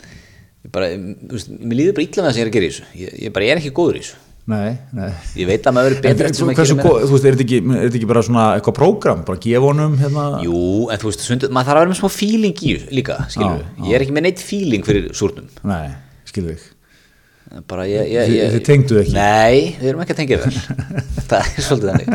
Speaker 1: ég bara, þú veist, mér líður bara illa með það sem ég er að gera í þessu ég, ég bara ég er ekki góður í þessu
Speaker 2: nei, nei.
Speaker 1: Ég veit að maður verið
Speaker 2: En
Speaker 1: betur eftir
Speaker 2: hversu,
Speaker 1: sem að
Speaker 2: hversu
Speaker 1: gera meira.
Speaker 2: góð, þú veist, er þetta ekki, er þetta ekki bara svona eitthvað prógram, bara gefa honum hérna?
Speaker 1: Jú, en þú veist, sundu, maður þarf að vera með smá feeling í þessu líka, skilur
Speaker 2: Já,
Speaker 1: Ég er ekki með neitt feeling fyrir súrnum
Speaker 2: Nei, skilðu þig.
Speaker 1: Bara ég, ég,
Speaker 2: Þi-
Speaker 1: ég
Speaker 2: þið tengduð ekki?
Speaker 1: Nei, við erum ekki að tengja þér Það er svolítið þannig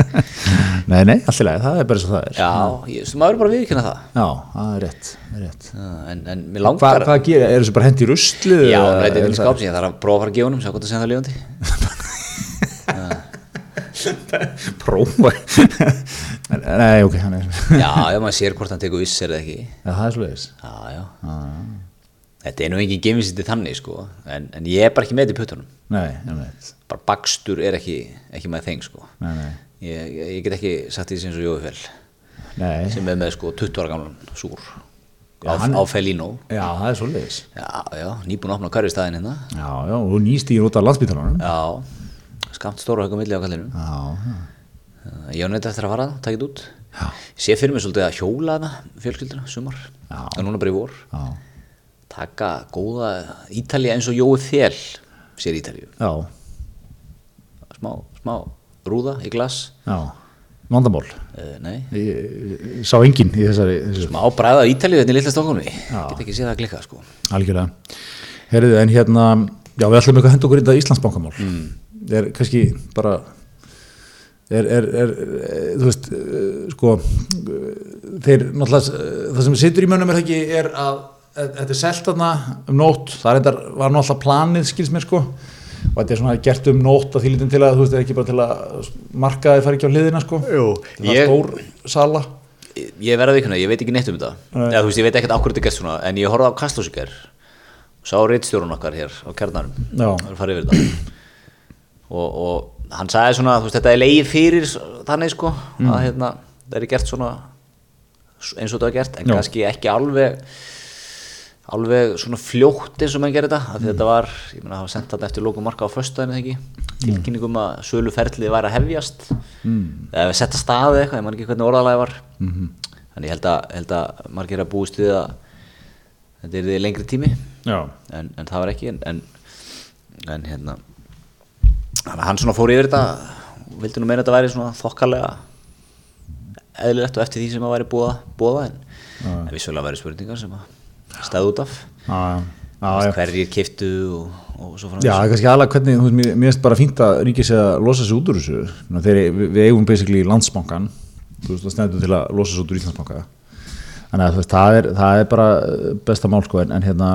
Speaker 2: Nei, nei, allt í lagi, það er bara svo það er.
Speaker 1: Já, ég, svo maður verið bara að viðkynna það
Speaker 2: Já, það er rétt, það er rétt.
Speaker 1: En, en mér
Speaker 2: Hva,
Speaker 1: langar
Speaker 2: hvað gerir, er þessu bara hendi ruslið?
Speaker 1: Já, hann reyndi inn í skáp sem ég þarf að prófa að fara að gefa honum Sjá hvort það sem það lifandi
Speaker 2: Prófa. nei, ok, hann er,
Speaker 1: Já, já, maður sér hvort hann tekur viss er það ekki
Speaker 2: já, það er svo leiðis.
Speaker 1: Já, já Þetta er nú engin geimvísindi þannig, sko en, en ég er bara ekki með þetta í puttunum
Speaker 2: Nei, ég veit,
Speaker 1: Bara bakstur er ekki, ekki með þeng, sko
Speaker 2: nei, nei,
Speaker 1: Ég, ég, ég get ekki sagt því sem svo Jófell
Speaker 2: nei,
Speaker 1: sem er með sko 20 ára gamlan súr á,
Speaker 2: Já, hann-
Speaker 1: á Felino
Speaker 2: já, það er svo leiðis.
Speaker 1: já, já, nýbúin að opna hverju staðin hérna
Speaker 2: Já, já, og nýstíðin út af landsbytalanum.
Speaker 1: já, skamt stóra högum milli á kallinu
Speaker 2: Já, já,
Speaker 1: Eh, ég á neitt eftir að fara það, takk þetta út
Speaker 2: Já.
Speaker 1: sé fyrir mig svolítið að hjóla það fjölskyldina, sumar,
Speaker 2: Já.
Speaker 1: það er núna bara í vor
Speaker 2: já,
Speaker 1: taka góða Ítalía eins og Jói Fel sér Ítalíu,
Speaker 2: já,
Speaker 1: smá, smá rúða í glas,
Speaker 2: já, vandamál.
Speaker 1: uh, nei
Speaker 2: Ég- ég- ég sá enginn í þessari, þessari
Speaker 1: smá bræða af Ítalíu þetta er litla stokkunni
Speaker 2: Já.
Speaker 1: get ekki séð það glikka sko
Speaker 2: algjörlega Herriðu, en hérna, já við ætlum eitthvað að henda okkur í þetta Íslandsbankamál mm. er kannski bara er, er, er, eh, þú veist eh, sko, eh, þeir náttúrulega, eh, það sem situr í mönnum er það ekki er að eh, þetta er selt þarna um nótt, það reyndar, var náttúrulega planið skils mér sko og þetta er svona gert um nótt að því lítum til að þú veist, það er ekki bara til að markaði fari ekki á hliðina sko Jú, það er
Speaker 1: ég-
Speaker 2: stór sala
Speaker 1: ég verða vikuna, ég veit ekki neitt um þetta eða þú veist, ég veit ekkert akkur þetta gerst svona en ég horfði á Kastlós í ger sá reittstjórun okkar hér á kjarnarum
Speaker 2: Já.
Speaker 1: það er farið yfir þetta og, og hann sagði svona, þú veist, þetta er leið fyrir s- þannig sko, að hérna það er gert svona s- eins og þetta er gert, en
Speaker 2: Já.
Speaker 1: kannski ekki alveg alveg svona fljótt eins og menn gerir þetta, af því þetta var ég meina, það var sendt þetta eftir lókum marka á föstudaginu eða ekki, tilkynningum að söluferlið væri að hefjast mm. eða setja staði eitthvað, ég man ekki hvernig orðalagi var þannig ég held að, held að margir að búist við að þetta er lengri tími
Speaker 2: Já,
Speaker 1: en, en það var ekki en, en, en hérna þannig að hann svona fór yfir þetta og vildi nú meina að þetta væri svona þokkalega eðlilegt og eftir því sem að væri búa, búa en,
Speaker 2: Já.
Speaker 1: en vissulega væri spurningar sem að stæðu út af
Speaker 2: já, já, já.
Speaker 1: hverjir kiftu og, og svo frá
Speaker 2: Já, það er kannski aðalega hvernig, þú veist, mér- mér finnst bara fínt að ríkis að losa sig út úr þessu. Ná, þeir, við, við eigum basically landsbankan, þú veist, það stendur til að losa sig út úr Íslandsbanka. Þannig að þú veist, það er, það er bara eh, besta mál, sko, en, en hérna,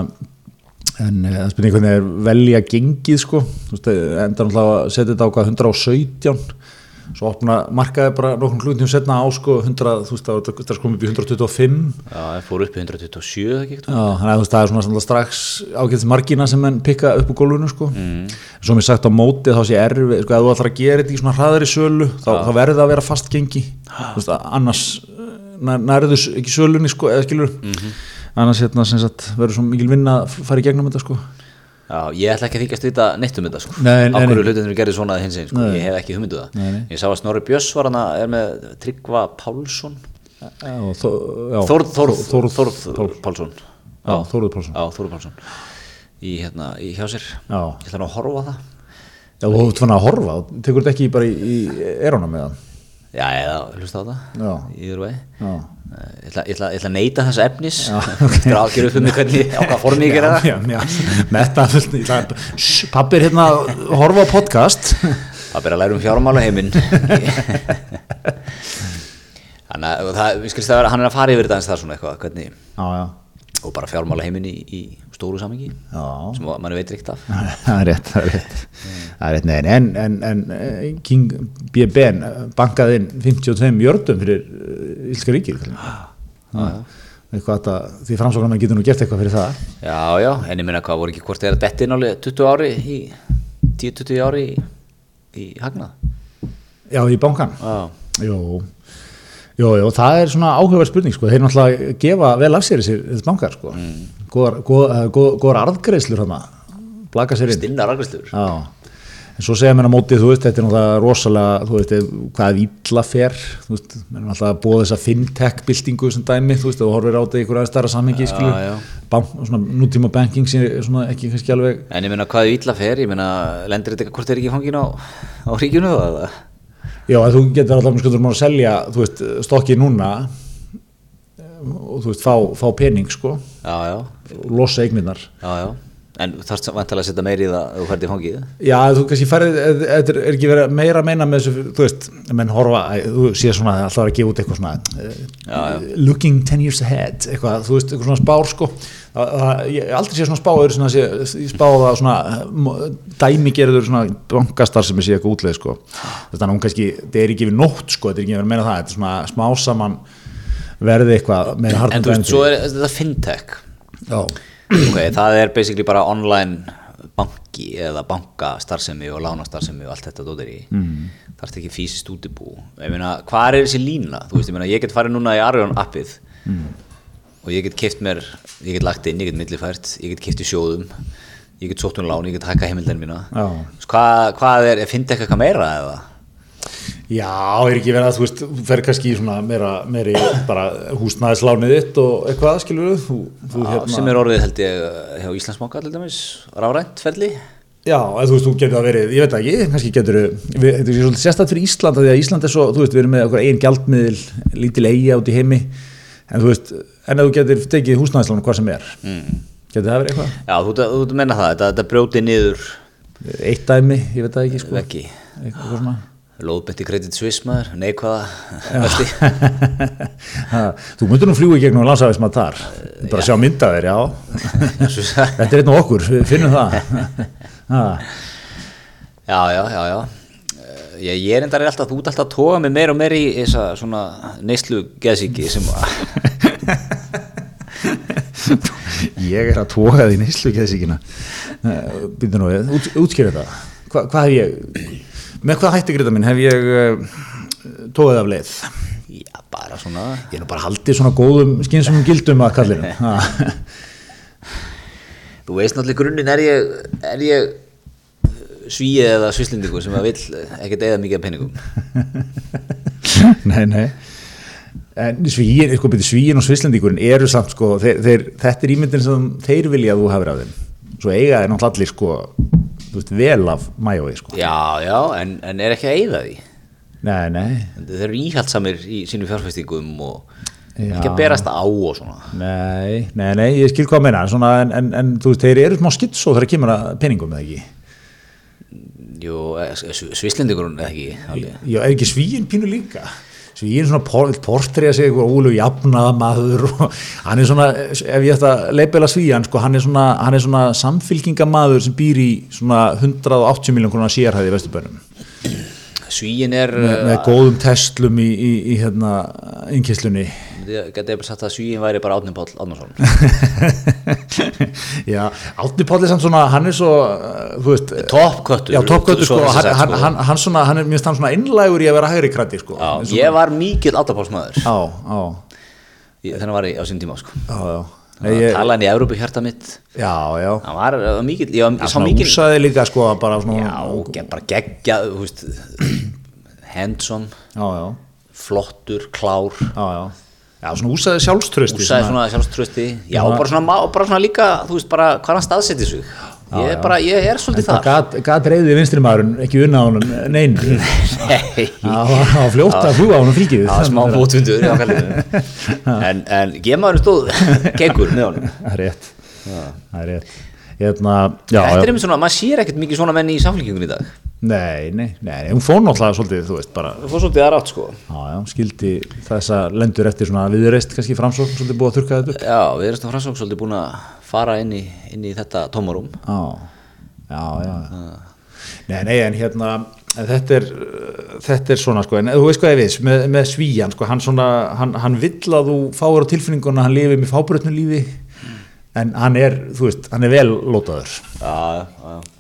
Speaker 2: en eh, það er spurning hvernig er velja gengið, sko, þú veist, eh, endar náttúrulega að setja þetta á hvað 117 svo opna markaði bara nokkrum klútnum setna á sko 100, þú veist það var- það komið upp í 125
Speaker 1: Já, það fór upp í 127 eða ekki eitthvað.
Speaker 2: Já, þannig að þú veist það er svona samtla strax ágætis margina sem menn pikka upp úr gólfinu sko. Svo mér sagt á móti þá sé erfi, sko, að þú ætlar að gera þetta í svona hraðari sölu, þá, þá verður það að vera fast gengi, þú veist, að annars eh, nærðu ekki sölunni sko, eða skilur, annars hérna sem sagt verður svo mikil vinna að fara í gegnum þetta sko.
Speaker 1: Já, ég ætla ekki að þykjast vita neitt um þetta sko.
Speaker 2: Nei, nei,
Speaker 1: Af hverju
Speaker 2: nei.
Speaker 1: hlutinir gerði svona hins einn sko. Ég hef ekki humindu það.
Speaker 2: Nei, nei.
Speaker 1: Ég sá að Snorri Björns var hana, er með Tryggva Pálsson.
Speaker 2: Já, þó, já,
Speaker 1: Þórð, Þórð,
Speaker 2: Þórð, Þórð,
Speaker 1: Þórð Pálsson.
Speaker 2: já, Þórður Pálsson.
Speaker 1: Já, Þórð Pálsson. Í hérna, í hjá sér.
Speaker 2: Já,
Speaker 1: Ég ætla nú að horfa á það.
Speaker 2: já þú ert fann að horfa, þú tekur þetta ekki bara í, í erona með það.
Speaker 1: Já, eða hlusta á það.
Speaker 2: Já,
Speaker 1: Íður vegi.
Speaker 2: já.
Speaker 1: Ég ætla, ég, ætla, ég ætla að neita þess efnis eftir að gera upp um mig hvernig á hvað formi ég gera það
Speaker 2: já, já, metta fullt í það pappi er hérna að horfa á podcast
Speaker 1: að byrja að læra um fjármála heiminn þannig að það, við skilst það vera hann er að fara yfir þetta eins það svona eitthvað hvernig,
Speaker 2: já, já,
Speaker 1: og bara fjármála heiminn í, í stóru samengi
Speaker 2: já
Speaker 1: sem mann veit reykt af
Speaker 2: það er rétt, það er rétt það er rétt, nei, nei, en, en, en eh, King B. Ben bankaði inn 52 mjördum fyrir eh, Ílska ríkir
Speaker 1: Ah.
Speaker 2: eitthvað að það, því framsóknar getur nú gert eitthvað fyrir það
Speaker 1: já, já, en ég minna hvað voru ekki hvort þeirra detti inn alveg 20 ári í 10-20 ári í, í hagnað
Speaker 2: já, í bankan
Speaker 1: já,
Speaker 2: Jó, jó, jó, það er svona áhugaverð spurning sko, þeir náttúrulega gefa vel af sér þessir þessir bankar sko,
Speaker 1: Mm.
Speaker 2: góðar, góð, eh, góð, góðar arðgreiðslur hann blaka sér inn.
Speaker 1: stinnar arglistur
Speaker 2: Já, en svo segja mér á móti, þú veist, þetta er náttúrulega rosalega, þú veist, ef- hvað illa fer, þú veist, mér er náttúrulega að búa þessa fintech-byltingu sem dæmi, þú veist, þú horfir á þetta í einhverja starra samhengi, skilur,
Speaker 1: já.
Speaker 2: Bank, svona nútíma banking sem er svona ekki kannski alveg,
Speaker 1: en ég minna hvað er illa fer, ég minna lendir þetta ekki- hvort þeirra ekki fangin á, á ríkjunu þá eða?
Speaker 2: Já, að þú getur alltaf með skuldur maður að selja, þú veist, stokki núna eh, og þú veist, fá, fá pening, sko,
Speaker 1: já, já,
Speaker 2: og losa eignirnar.
Speaker 1: Já, já, en þú þarfst vantilega að setja meiri í það ef þú ferði í fangið
Speaker 2: Já, þú kannski færið, eh, þetta er er ekki verið meira að meina með þessu, þú veist, menn horfa, æ, þú sé svona alltaf að gefa út eitthvað svona, já, já. looking ten years ahead, eitthvað, þú veist, eitthvað svona spár, sko, það, það, ég hef aldrei sé svona spáður, svona, sé, ég spá það svona, eh, mo- dæmigerður svona bankastar sem ég sé eitthvað útleið, sko, þannig að hún kannski, þetta er ekki við nótt, sko, þetta er ekki verið að meina það, þetta er svona smá saman verði eitthvað meira hardan
Speaker 1: En þú veist, svo er þetta fintech
Speaker 2: Já,
Speaker 1: Ok, það er basically bara online banki eða bankastarfsemi og lánastarfsemi og allt þetta dóttir í mm. þarfst ekki fysiskt útibú ég meina, hvað er þessi lína? Þú veist, ég meina, ég get farið núna í Arion appið
Speaker 2: Mm.
Speaker 1: og ég get keift mér ég get lagt inn, ég get millifært, ég get keift í sjóðum ég get sótt um lán, ég get hækka heimildin mína
Speaker 2: Já.
Speaker 1: Hvað, hvað er, er fintech eitthvað meira eða?
Speaker 2: Já, er ekki verið að þú veist, þú fer kannski í svona meira, meiri bara húsnæðislánið þitt og eitthvað, skilur við, þú, þú hérna-
Speaker 1: Já, sem er orðið held ég hjá Íslandsbanka til dæmis, rafrænt ferli
Speaker 2: Já, eða þú veist, þú getur það verið, ég veit það ekki, kannski getur við, þetta er svolítið sérstætt fyrir Ísland af því að Ísland er svo, þú veist, við erum með okkur einn gjaldmiðil, lítil eiga út í heimi, en þú veist, en ef þú getur tekið húsnæðislánu hvað sem er, mm. getur það verið eitthvað,
Speaker 1: Já, þú þú ert að menna það, þetta, þetta brjóti niður
Speaker 2: eitt dæmi, ég veit það ekki, sko,
Speaker 1: veggi
Speaker 2: eitthvað svona.
Speaker 1: Lóðbenti kredit Suisse maður, neikvaða vesti
Speaker 2: Ha, þú myndur nú fljúi gegnum landsafis maður þar, bara sjá mynda þér, já,
Speaker 1: Já,
Speaker 2: þetta er einn og okkur, við finnum það. Ha.
Speaker 1: já, já, já Eh, Ég, ég er endar alltaf, þú ert alltaf að toga mig meir og meir í þessa svona neyslu geðsíki sem að
Speaker 2: ég er að tóka því neyslu geðsíkina býta nú við, út, útskýra það Hva, hvað hef ég með hvað hætti gríta minn hef ég uh, tókað af leið
Speaker 1: Já, bara svona
Speaker 2: ég er nú bara haldið svona góðum skynsumum gildum að kallinum Ha.
Speaker 1: Þú veist náttúrulega í grunninn er ég, er ég svíið eða svislendingu sem að vill eh, ekkert eða mikið af peningum
Speaker 2: nei, nei en svíin, sko, byrja, svíin og svislendingurinn eru samt sko, þeir, þeir, þetta er ímyndin sem þeir vilja að þú hefur af þeim svo eiga þeir náttúrulega allir sko, þú veist, vel af mæjói sko.
Speaker 1: Já, já, en, en er ekki að eyða því
Speaker 2: nei, nei
Speaker 1: Þeir eru íhaldsamir í sínum fjárfestingum og
Speaker 2: Já.
Speaker 1: ekki að berast á og svona.
Speaker 2: Nei, nei, nei, ég skil hvað að meina svona, en, en, en þú veist, þeir eru smá skitsó þegar kemur að peningum eða ekki
Speaker 1: Jú, eh, svislendingurinn eða ekki. alveg.
Speaker 2: Já, er ekki svíin pínu líka svíin svona por, portréa sig eitthvað úlu jafnað maður og hann er svona, ef ég ætti að leipela svíjan sko, hann er svona, hann er svona samfylkingamaður sem býr í svona 180 miljón krona sérhæði í vesturbænum
Speaker 1: svíin er
Speaker 2: með, með góðum testlum í, í, í hérna innkestlunni
Speaker 1: geti ég bara sagt að svíin væri bara Átni Páll Átnason
Speaker 2: já, Átni Páll er samt svona hann er svo, uh, þú veist
Speaker 1: Toppköttur
Speaker 2: já, toppköttur sko,
Speaker 1: svo þessi
Speaker 2: hann,
Speaker 1: sagt,
Speaker 2: hann,
Speaker 1: sko.
Speaker 2: hann, hann svona, hann er mjög stann svona innlægur í að vera hægri krætti sko
Speaker 1: Já,
Speaker 2: Eins og-
Speaker 1: ég var mikil átapálsmaður
Speaker 2: á, á,
Speaker 1: þennan var ég á sín tíma sko.
Speaker 2: á, já Nei,
Speaker 1: ég...
Speaker 2: ég,
Speaker 1: talaði hann í Európu hjarta mitt
Speaker 2: já, já
Speaker 1: hann var uh, mikil, ég var ég sá
Speaker 2: svona
Speaker 1: mikil
Speaker 2: úsaði líka sko bara svona
Speaker 1: já, ge- bara geggja veist, handsome
Speaker 2: já, já,
Speaker 1: flottur, klár
Speaker 2: já, já. já svona úsaði sjálfströsti
Speaker 1: húsaði svona sjálfströsti já, bara svona, ma- og bara svona líka, þú veist, bara hvað hann staðseti sig ég er bara, ég er svolítið
Speaker 2: það
Speaker 1: þar
Speaker 2: gat, gat reyðið vinstri maðurinn ekki unna á honum nein það
Speaker 1: Nei.
Speaker 2: var það var fljótt að fljúa á honum fríkið
Speaker 1: það var smá mótvindur í okkar liðinu. en, en gemaðurinn stóð geggur með honum
Speaker 2: það er rétt það er rétt hérna, já,
Speaker 1: þetta er um-
Speaker 2: já,
Speaker 1: einmitt svona, maður sér ekkert mikið svona menni í samfélkingun í dag
Speaker 2: nei, nei, nei, hún fór náttúrulega svolítið, þú veist, bara,
Speaker 1: það fór svolítið aðrátt sko
Speaker 2: já, já, skildi þessa lendur eftir svona viðreist, kannski framsókn svolítið búið að þurka þetta upp.
Speaker 1: já, við erum svona fransók svolítið búin að fara inn í, inn í þetta tómarum
Speaker 2: Já, já, já, nei, nei, en hérna, en þetta er, uh, þetta er svona, sko, en þú veist hvað ég veist, með, með svíjan, sko, hann svona, hann, hann vill að þú fáir á tilfinninguna, hann lifið með fábrötnu lífi, en hann er, þú veist, hann er vel lótaður.
Speaker 1: já, já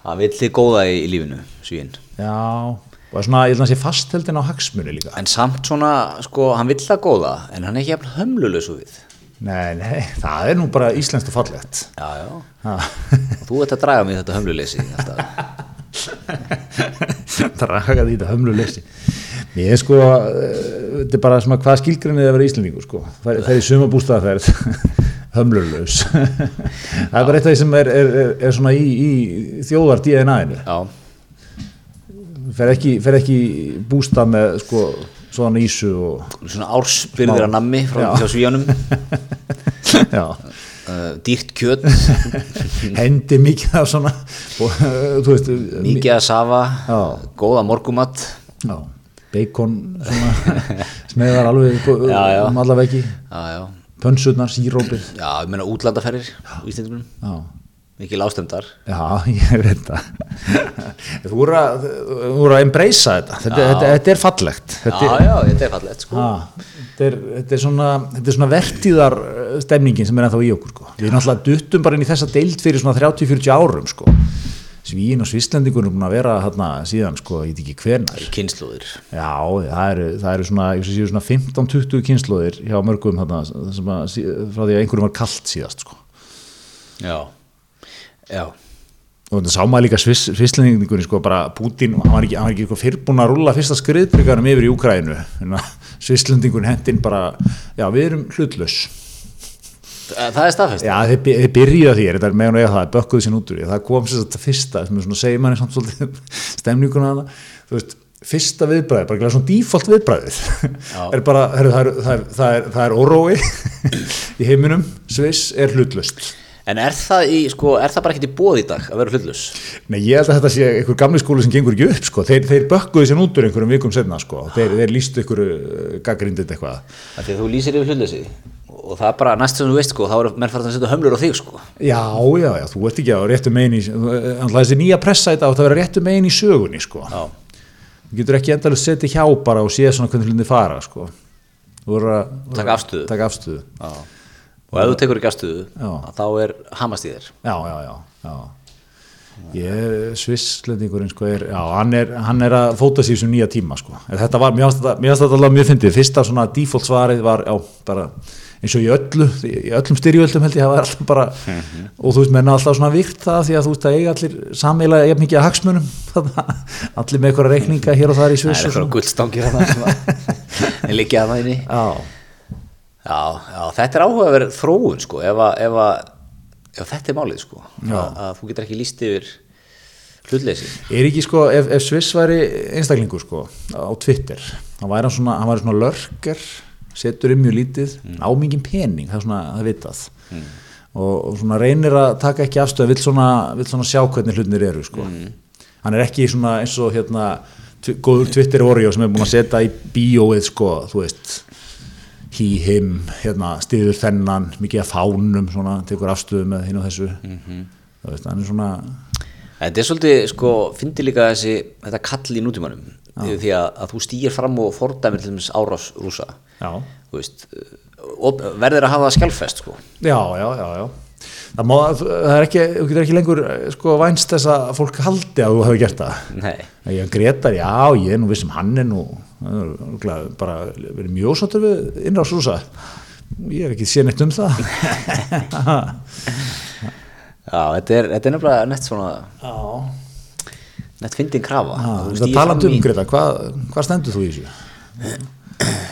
Speaker 1: það vill þið góða í, í lífinu, svíinn
Speaker 2: Já, og er svona, ég held að hann sé fastheltin á hagsmunni líka.
Speaker 1: en samt svona, sko, hann vill það góða en hann er ekki jafn hömlulösu við
Speaker 2: Nei, nei, það er nú bara íslenskt og fallegt.
Speaker 1: já, já,
Speaker 2: Ha.
Speaker 1: og þú ert að draga mig í þetta hömluleysi alltaf.
Speaker 2: Draga því þetta hömluleysi. Mér er sko, eh, þetta er bara svona hvað skilgrinnið er að vera íslendingur sko. Það er í sumabústaðaferð, hömlulaus. það er bara eitt af því sem er, er, er, er svona í, í þjóðar DNA-inu.
Speaker 1: já,
Speaker 2: Fer ekki, fer ekki í bústað með sko svona ísu og,
Speaker 1: svona ársbyrðir að nammi frá
Speaker 2: Já.
Speaker 1: hjá svíjanum
Speaker 2: já,
Speaker 1: uh, dýrt kjöt,
Speaker 2: hendi mikið af svona, og, eh, þú veist, mikið.
Speaker 1: mikið að safa
Speaker 2: Já.
Speaker 1: góða morgumat
Speaker 2: Já, bacon svona, smeðar alveg sko,
Speaker 1: Já, já.
Speaker 2: um alla veggi.
Speaker 1: já, já,
Speaker 2: pönsurnar, sírópið
Speaker 1: já, ég meina útlandaferðir í Íslandum,
Speaker 2: já,
Speaker 1: mikið lástendar
Speaker 2: já, ég veit það þú voru að þú voru að embracea þetta þetta, þetta, þetta er fallegt
Speaker 1: já,
Speaker 2: þetta, er- Ah.
Speaker 1: já, þetta er fallegt sko
Speaker 2: Ha, þetta, er, þetta, er svona, þetta er svona vertíðar eh, stemningin sem er ennþá í okkur sko. við erum alltaf duttum bara inn í þessa deild fyrir svona 30-40 árum sko. svín og svisslendingur er búin að vera þarna síðan, sko, ég veit ekki hvernar
Speaker 1: kynnslóðir
Speaker 2: Já, það eru, það eru svona, ég sé séu svona 15-20 kynnslóðir hjá mörgum þarna, sem að, sí- frá því að einhverjum var kalt síðast sko.
Speaker 1: já, já,
Speaker 2: og þetta sá maður líka svisslendingunni sko bara Putin, hann var ekki, hann var ekki sko, fyrrbúin að rulla fyrsta skriðbrygarum yfir í Úkrænu svisslendingun hendinn bara já við erum hlutlaus
Speaker 1: það er staðfest
Speaker 2: já þeir, by- þeir byrja því, þetta er meðan og ég það bökkuðu sín út úr því, það kom sér þetta fyrsta sem er svona segir manni samt svolítið stemninguna hana, þú veist fyrsta viðbræði, bara glæði svona default viðbræðið
Speaker 1: Já.
Speaker 2: er bara, heru, það, er, það, er, það, er, það er órói í heiminum, Sviss er hlutlaust
Speaker 1: En er það, í, sko, er það bara ekkert í bóð í dag að vera hlutlaus?
Speaker 2: Nei, ég held að þetta sé einhver gamli skóli sem gengur ekki upp, sko. Þeir, þeir bökkuðu sér út úr einhverjum vikum setna, sko. Þeir, þeir lístu einhverju uh, gaggrindið eitthvað.
Speaker 1: Af því að þú lýsir yfir hlutleysi og það er bara næst sem þú veist sko, þá eru menn farin að setja hömlur á þig sko.
Speaker 2: Já, já, já, þú ert ekki á réttu megin í, alltaf þessi nýja pressa þetta átt að vera réttu megin í sögunni, sko.
Speaker 1: Já.
Speaker 2: Þú getur ekki endalust setið hjá bara og séð svona hvernig hlutinni fara, sko. Þú voru að...
Speaker 1: Taka
Speaker 2: voru-
Speaker 1: afstöðu.
Speaker 2: Taka afstöðu.
Speaker 1: Já. Og ef þú tekur ekki afstöðu,
Speaker 2: Já.
Speaker 1: að þá er hamast í þér.
Speaker 2: Já, já, já, já. Ég, svisslendingurinn, sko, er, já, hann er, hann er að fóta sér sem nýja tíma, sko. En þetta var, mér fannst þetta- mér fannst þetta alveg mjög fyndið. Fyrsta svona default svarið var, já, bara eins og í öllu, í öllum styrjöldum held ég, það var alltaf bara,
Speaker 1: Mhm.
Speaker 2: og þú veist, menna alltaf svona virt það því að þú veist að eiga allir sameiginlega jafn mikið að hagsmunum, allir með einhverja reikninga hér og þar
Speaker 1: Það er
Speaker 2: í Sviss og
Speaker 1: eitthvað
Speaker 2: svona.
Speaker 1: gullstangir að það sem að- en liggja að það inni.
Speaker 2: Já,
Speaker 1: Já, já, þetta er áhugaverð þróun sko, ef, að, ef, að, ef þetta er málið sko, að, að þú getur ekki lýst yfir hlutleysi.
Speaker 2: er ekki sko, ef, ef Sviss væri einstaklingur sko, á Twitter hann væri hann svona, hann væri svona lörker setur um mjög lítið, mm. ámingin pening það er svona, það er vitað og, og svona reynir að taka ekki afstöð vill svona, vill svona sjá hvernig hlutinir eru sko. hann er ekki svona eins og hérna, tw góður Twitter Oreo sem er búin að setja í bíóið sko, þú veist he, him, hérna, stiður Mhm. þennan mikið að fánum, svona, tekur afstöðu með hinn og þessu mm -hmm. veist, hann er svona
Speaker 1: Þetta er svolítið, sko, fyndi líka þessi, þetta kall í nútímanum því að, að þú stýr fram og fordæmir til þess árás rúsa
Speaker 2: Já.
Speaker 1: þú veist, og verður að hafa það skjálfest, sko
Speaker 2: Já, já, já, já. Það, má, það er ekki, þú getur ekki lengur eh, sko vænst þess að fólk haldi að þú hefur gert það.
Speaker 1: Nei,
Speaker 2: Já, Gretar, já, ég er nú vissum hann er nú hann er örugglega bara verið mjög sáttur við innrás rúsa. Ég hef ekki séð neitt um það.
Speaker 1: já, þetta er, þetta er nefnilega nett svona,
Speaker 2: já.
Speaker 1: nett fyndin krafa
Speaker 2: Ah,
Speaker 1: Þú
Speaker 2: það
Speaker 1: stígur
Speaker 2: talandi
Speaker 1: fram
Speaker 2: um
Speaker 1: í-
Speaker 2: Gretar, hvað, hvað stendur þú í þessu?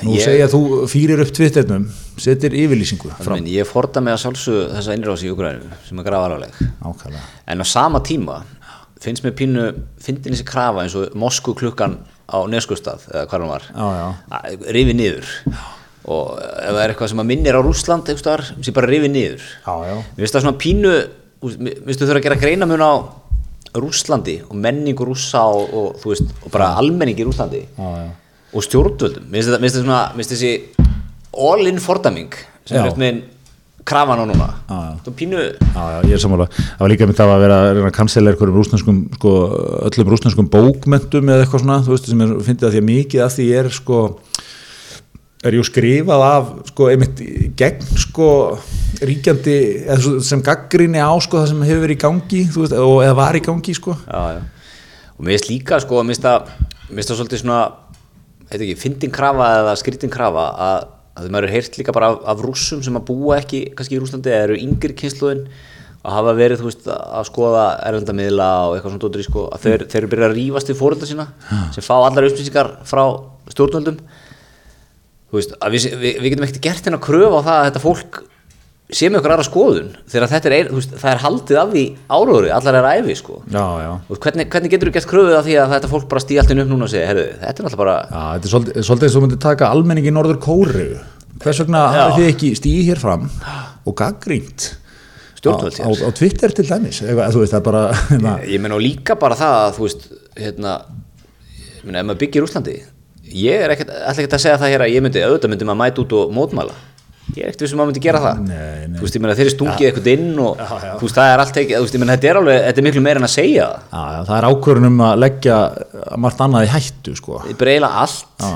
Speaker 2: Nú
Speaker 1: Ég-
Speaker 2: segja þú fýrir upp tvittirnum, setir yfirlýsingu fram.
Speaker 1: Þannig minn, Ég fordæmi að sjálfsögðu þessa innrási í Ukraínu sem er grafa alvarleg
Speaker 2: Ákala.
Speaker 1: En á sama tíma finnst mér pínu, fyndin þessi krafa eins og Moskú klukkan á Neskustad, eða hvað hann var,
Speaker 2: Já, já.
Speaker 1: að- rifi niður. Og ef það er eitthvað sem að minnir á Rússland, einhvers staðar, sem bara rifi niður.
Speaker 2: Já, já.
Speaker 1: Mér finnst það svona pínu, þú- mér finnst þú þurfa að gera greina mun á Rússlandi og menningu rússa og, og, þú veist, og bara almenningi í Rússlandi
Speaker 2: Já, já.
Speaker 1: og stjórnvöldum. Mér finnst þetta- mér finnst þetta svona, mér finnst þessi all-in fordaming sem
Speaker 2: Já.
Speaker 1: er eftir með krafan á núna.
Speaker 2: Já, já.
Speaker 1: Þú pínu,
Speaker 2: Já, já, ég er sammála. Það var líka mynd það að vera að reyna að kansella einhverjum rúsnenskum, sko, öllum rúsnenskum bókmentum eða eitthvað svona, þú veist, sem er, finnst það því að mikið að því ég er, sko, er jú skrifað af, sko, einmitt í- gegn, sko, ríkjandi, eða svo- sem gaggrinni á, sko, það sem hefur verið í gangi, þú veist, og, eða var í gangi, sko.
Speaker 1: já, já. og mér finnst líka sko, mér finnst það- mér finnst það svolítið svona heit ekki, fyndin krafa eða skrítin krafa að, að maður er heyrt líka bara af, af rússum sem að búa ekki kannski í Rúslandi eða eru yngri kynsluðin að hafa verið, þú veist, að skoða erlendamiðla og eitthvað svona dóttir í sko að þeir, þeir eru byrjað að rífast við fórölda sína sem fá allar upplýsingar frá stjórnvöldum þú veist, að við, við, við getum ekkert gert hérna kröfu á það að þetta fólk sé með okkur aðra skoðun þegar þetta er, ein, þú veist, það er haldið af því áróðri, allar er æfi sko
Speaker 2: Já, já.
Speaker 1: Og hvernig, hvernig getur þú gert kröfuð af því að þetta fólk bara stýja allt inn upp núna og segja, herru, þetta er náttúrulega bara,
Speaker 2: Já, þetta er svolítið, svolítið eins og þú myndir taka almenningi norður kóru. Hvers vegna hafið þið ekki stíði hér fram og gaggrínt?
Speaker 1: Stjórnvöld
Speaker 2: á, á, á Twitter til dæmis, eitthvað, þú veist, það er bara... hérna,
Speaker 1: ég meina og líka bara það að, þú veist, hérna, ég meina, ef maður byggir Úslandi, ég er ekkert, ætla ekkert að segja það hér að ég myndi, auðvitað myndi maður mæta út og mótmæla, ég er ekkert vissum að maður myndi gera það,
Speaker 2: Nei, nei.
Speaker 1: þú veist, ég meina, þeir eru stungið eitthvað inn og,
Speaker 2: Já, já.
Speaker 1: þú veist, það er allt ekki, þú veist, ég meina, þetta er alveg, þetta er miklu meira en að segja það,
Speaker 2: Já, já, það er ákvörðun um að leggja margt annað í hættu sko.
Speaker 1: þetta er bara eiginlega allt,
Speaker 2: Já.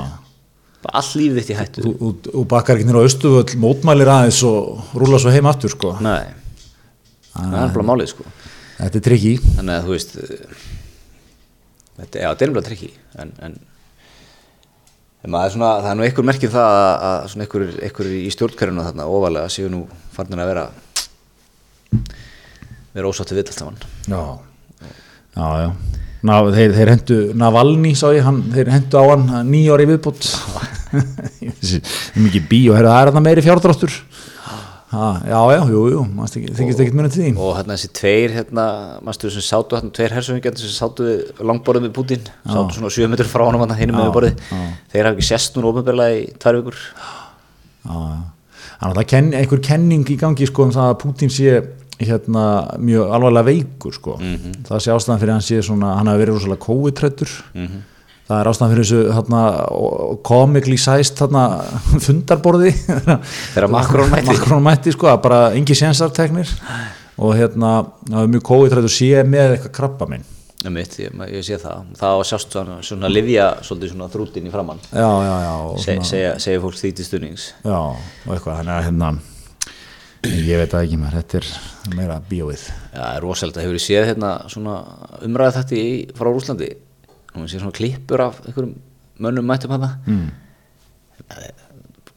Speaker 1: bara allt lífið þitt í hættu,
Speaker 2: Þú, þú, þú bakkar ekki nýra á Östuvöll, mótmælir aðeins og rúla svo heim aftur sko.
Speaker 1: nei, það er bara málið, sko.
Speaker 2: Þetta er trikki.
Speaker 1: þannig að þú veist eh, þetta, já, þetta er nefnilega trikki en, en, en maður er svona, það er nú einhver merkið það að, að svona einhver, einhver í stjórnkerfinu þarna ofalega séu nú farnir að vera vera ósáttu vill alltaf hann
Speaker 2: Já, já, já. Ná, þeir, þeir hendu Navalny, sá ég, hann, þeir hendu á hann hann níu ári viðbútt. Mikið bí og herra, það er þarna meiri fjárdráttur. Ha, já, já, jú, jú, maður þykist- þykist ekkert munið til því.
Speaker 1: og hérna þessi tveir hérna, mannstu sem sátu hérna, tveir hersöfingjarnir sem sátu við langborðið með Putin sátu svona 7 metrur frá honum hérna hinum með borðið þeir hafa ekki sest núna ofinbjörlega í tvær vikur
Speaker 2: Já, já. Þannig að það er einhver kenning í gangi sko, um það að Putin sé hérna, mjög alvarlega veikur sko. það sé ástæðan fyrir að hann sé svona, hann hafi verið rosalega COVID-trættur það er ástæðan fyrir þessu hérna, comically sized hérna, fundarborði þegar
Speaker 1: Macron mætti.
Speaker 2: Macron mætti sko, að bara engi sensarteknir og hérna, það er mjög COVID-trættur sé með eitthvað krabba minn
Speaker 1: Einmitt, ég, ma- ég sé það, það á að sjást svona, svona livja svolítið svona þrútin í framann
Speaker 2: já, já, já, og
Speaker 1: Se, segja, segja fólk því til stuðnings
Speaker 2: já, og eitthvað þannig að hérna, ég veit það ekki maður, þetta er meira bíóið
Speaker 1: Já, það er rosalega, hefur þið séð hérna svona umræða þetta í, frá Rúslandi hún sé svona klippur af einhverjum mönnum mættum hana mm.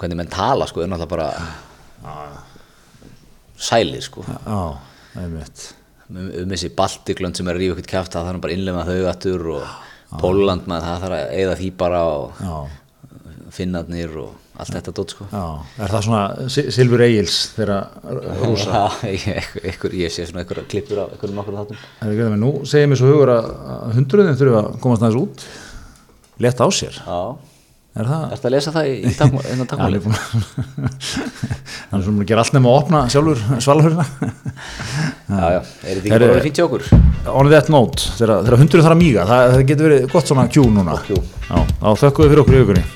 Speaker 1: hvernig menn tala sko, er náttúrulega bara sælir sko
Speaker 2: Já, einmitt.
Speaker 1: um, um þessi Baltiklönd sem er að rífa ykkur kæft það þarf bara að innlema þau aftur og Póland með það þarf að eigða því bara og
Speaker 2: Já,
Speaker 1: finnarnir og allt þetta dót sko
Speaker 2: já. Er það svona Si- Silfur Egils þegar rúsa?
Speaker 1: Já, ég, ykkur, ég sé svona einhverja klippur af einhverjum okkur þáttum
Speaker 2: Er ekki það með nú? Segir mér svo hugur að að hundruðin þurfa að komast aðeins út. Lett á sér.
Speaker 1: Já,
Speaker 2: Er það?
Speaker 1: ertu að lesa það í, í takmáli?
Speaker 2: hann
Speaker 1: Já,
Speaker 2: er búinn að- hann er svona búinn að gera allt nefn að opna sjálfur svalahörina.
Speaker 1: já, já, er þetta ekki
Speaker 2: Herru-
Speaker 1: bara orðið fínt hjá okkur?
Speaker 2: On that note, þegar, þegar hundruð þarf að míga, það, það getur verið gott svona kjú núna.
Speaker 1: Gott cue.
Speaker 2: Já, þá þökkum við fyrir okkur í augunni.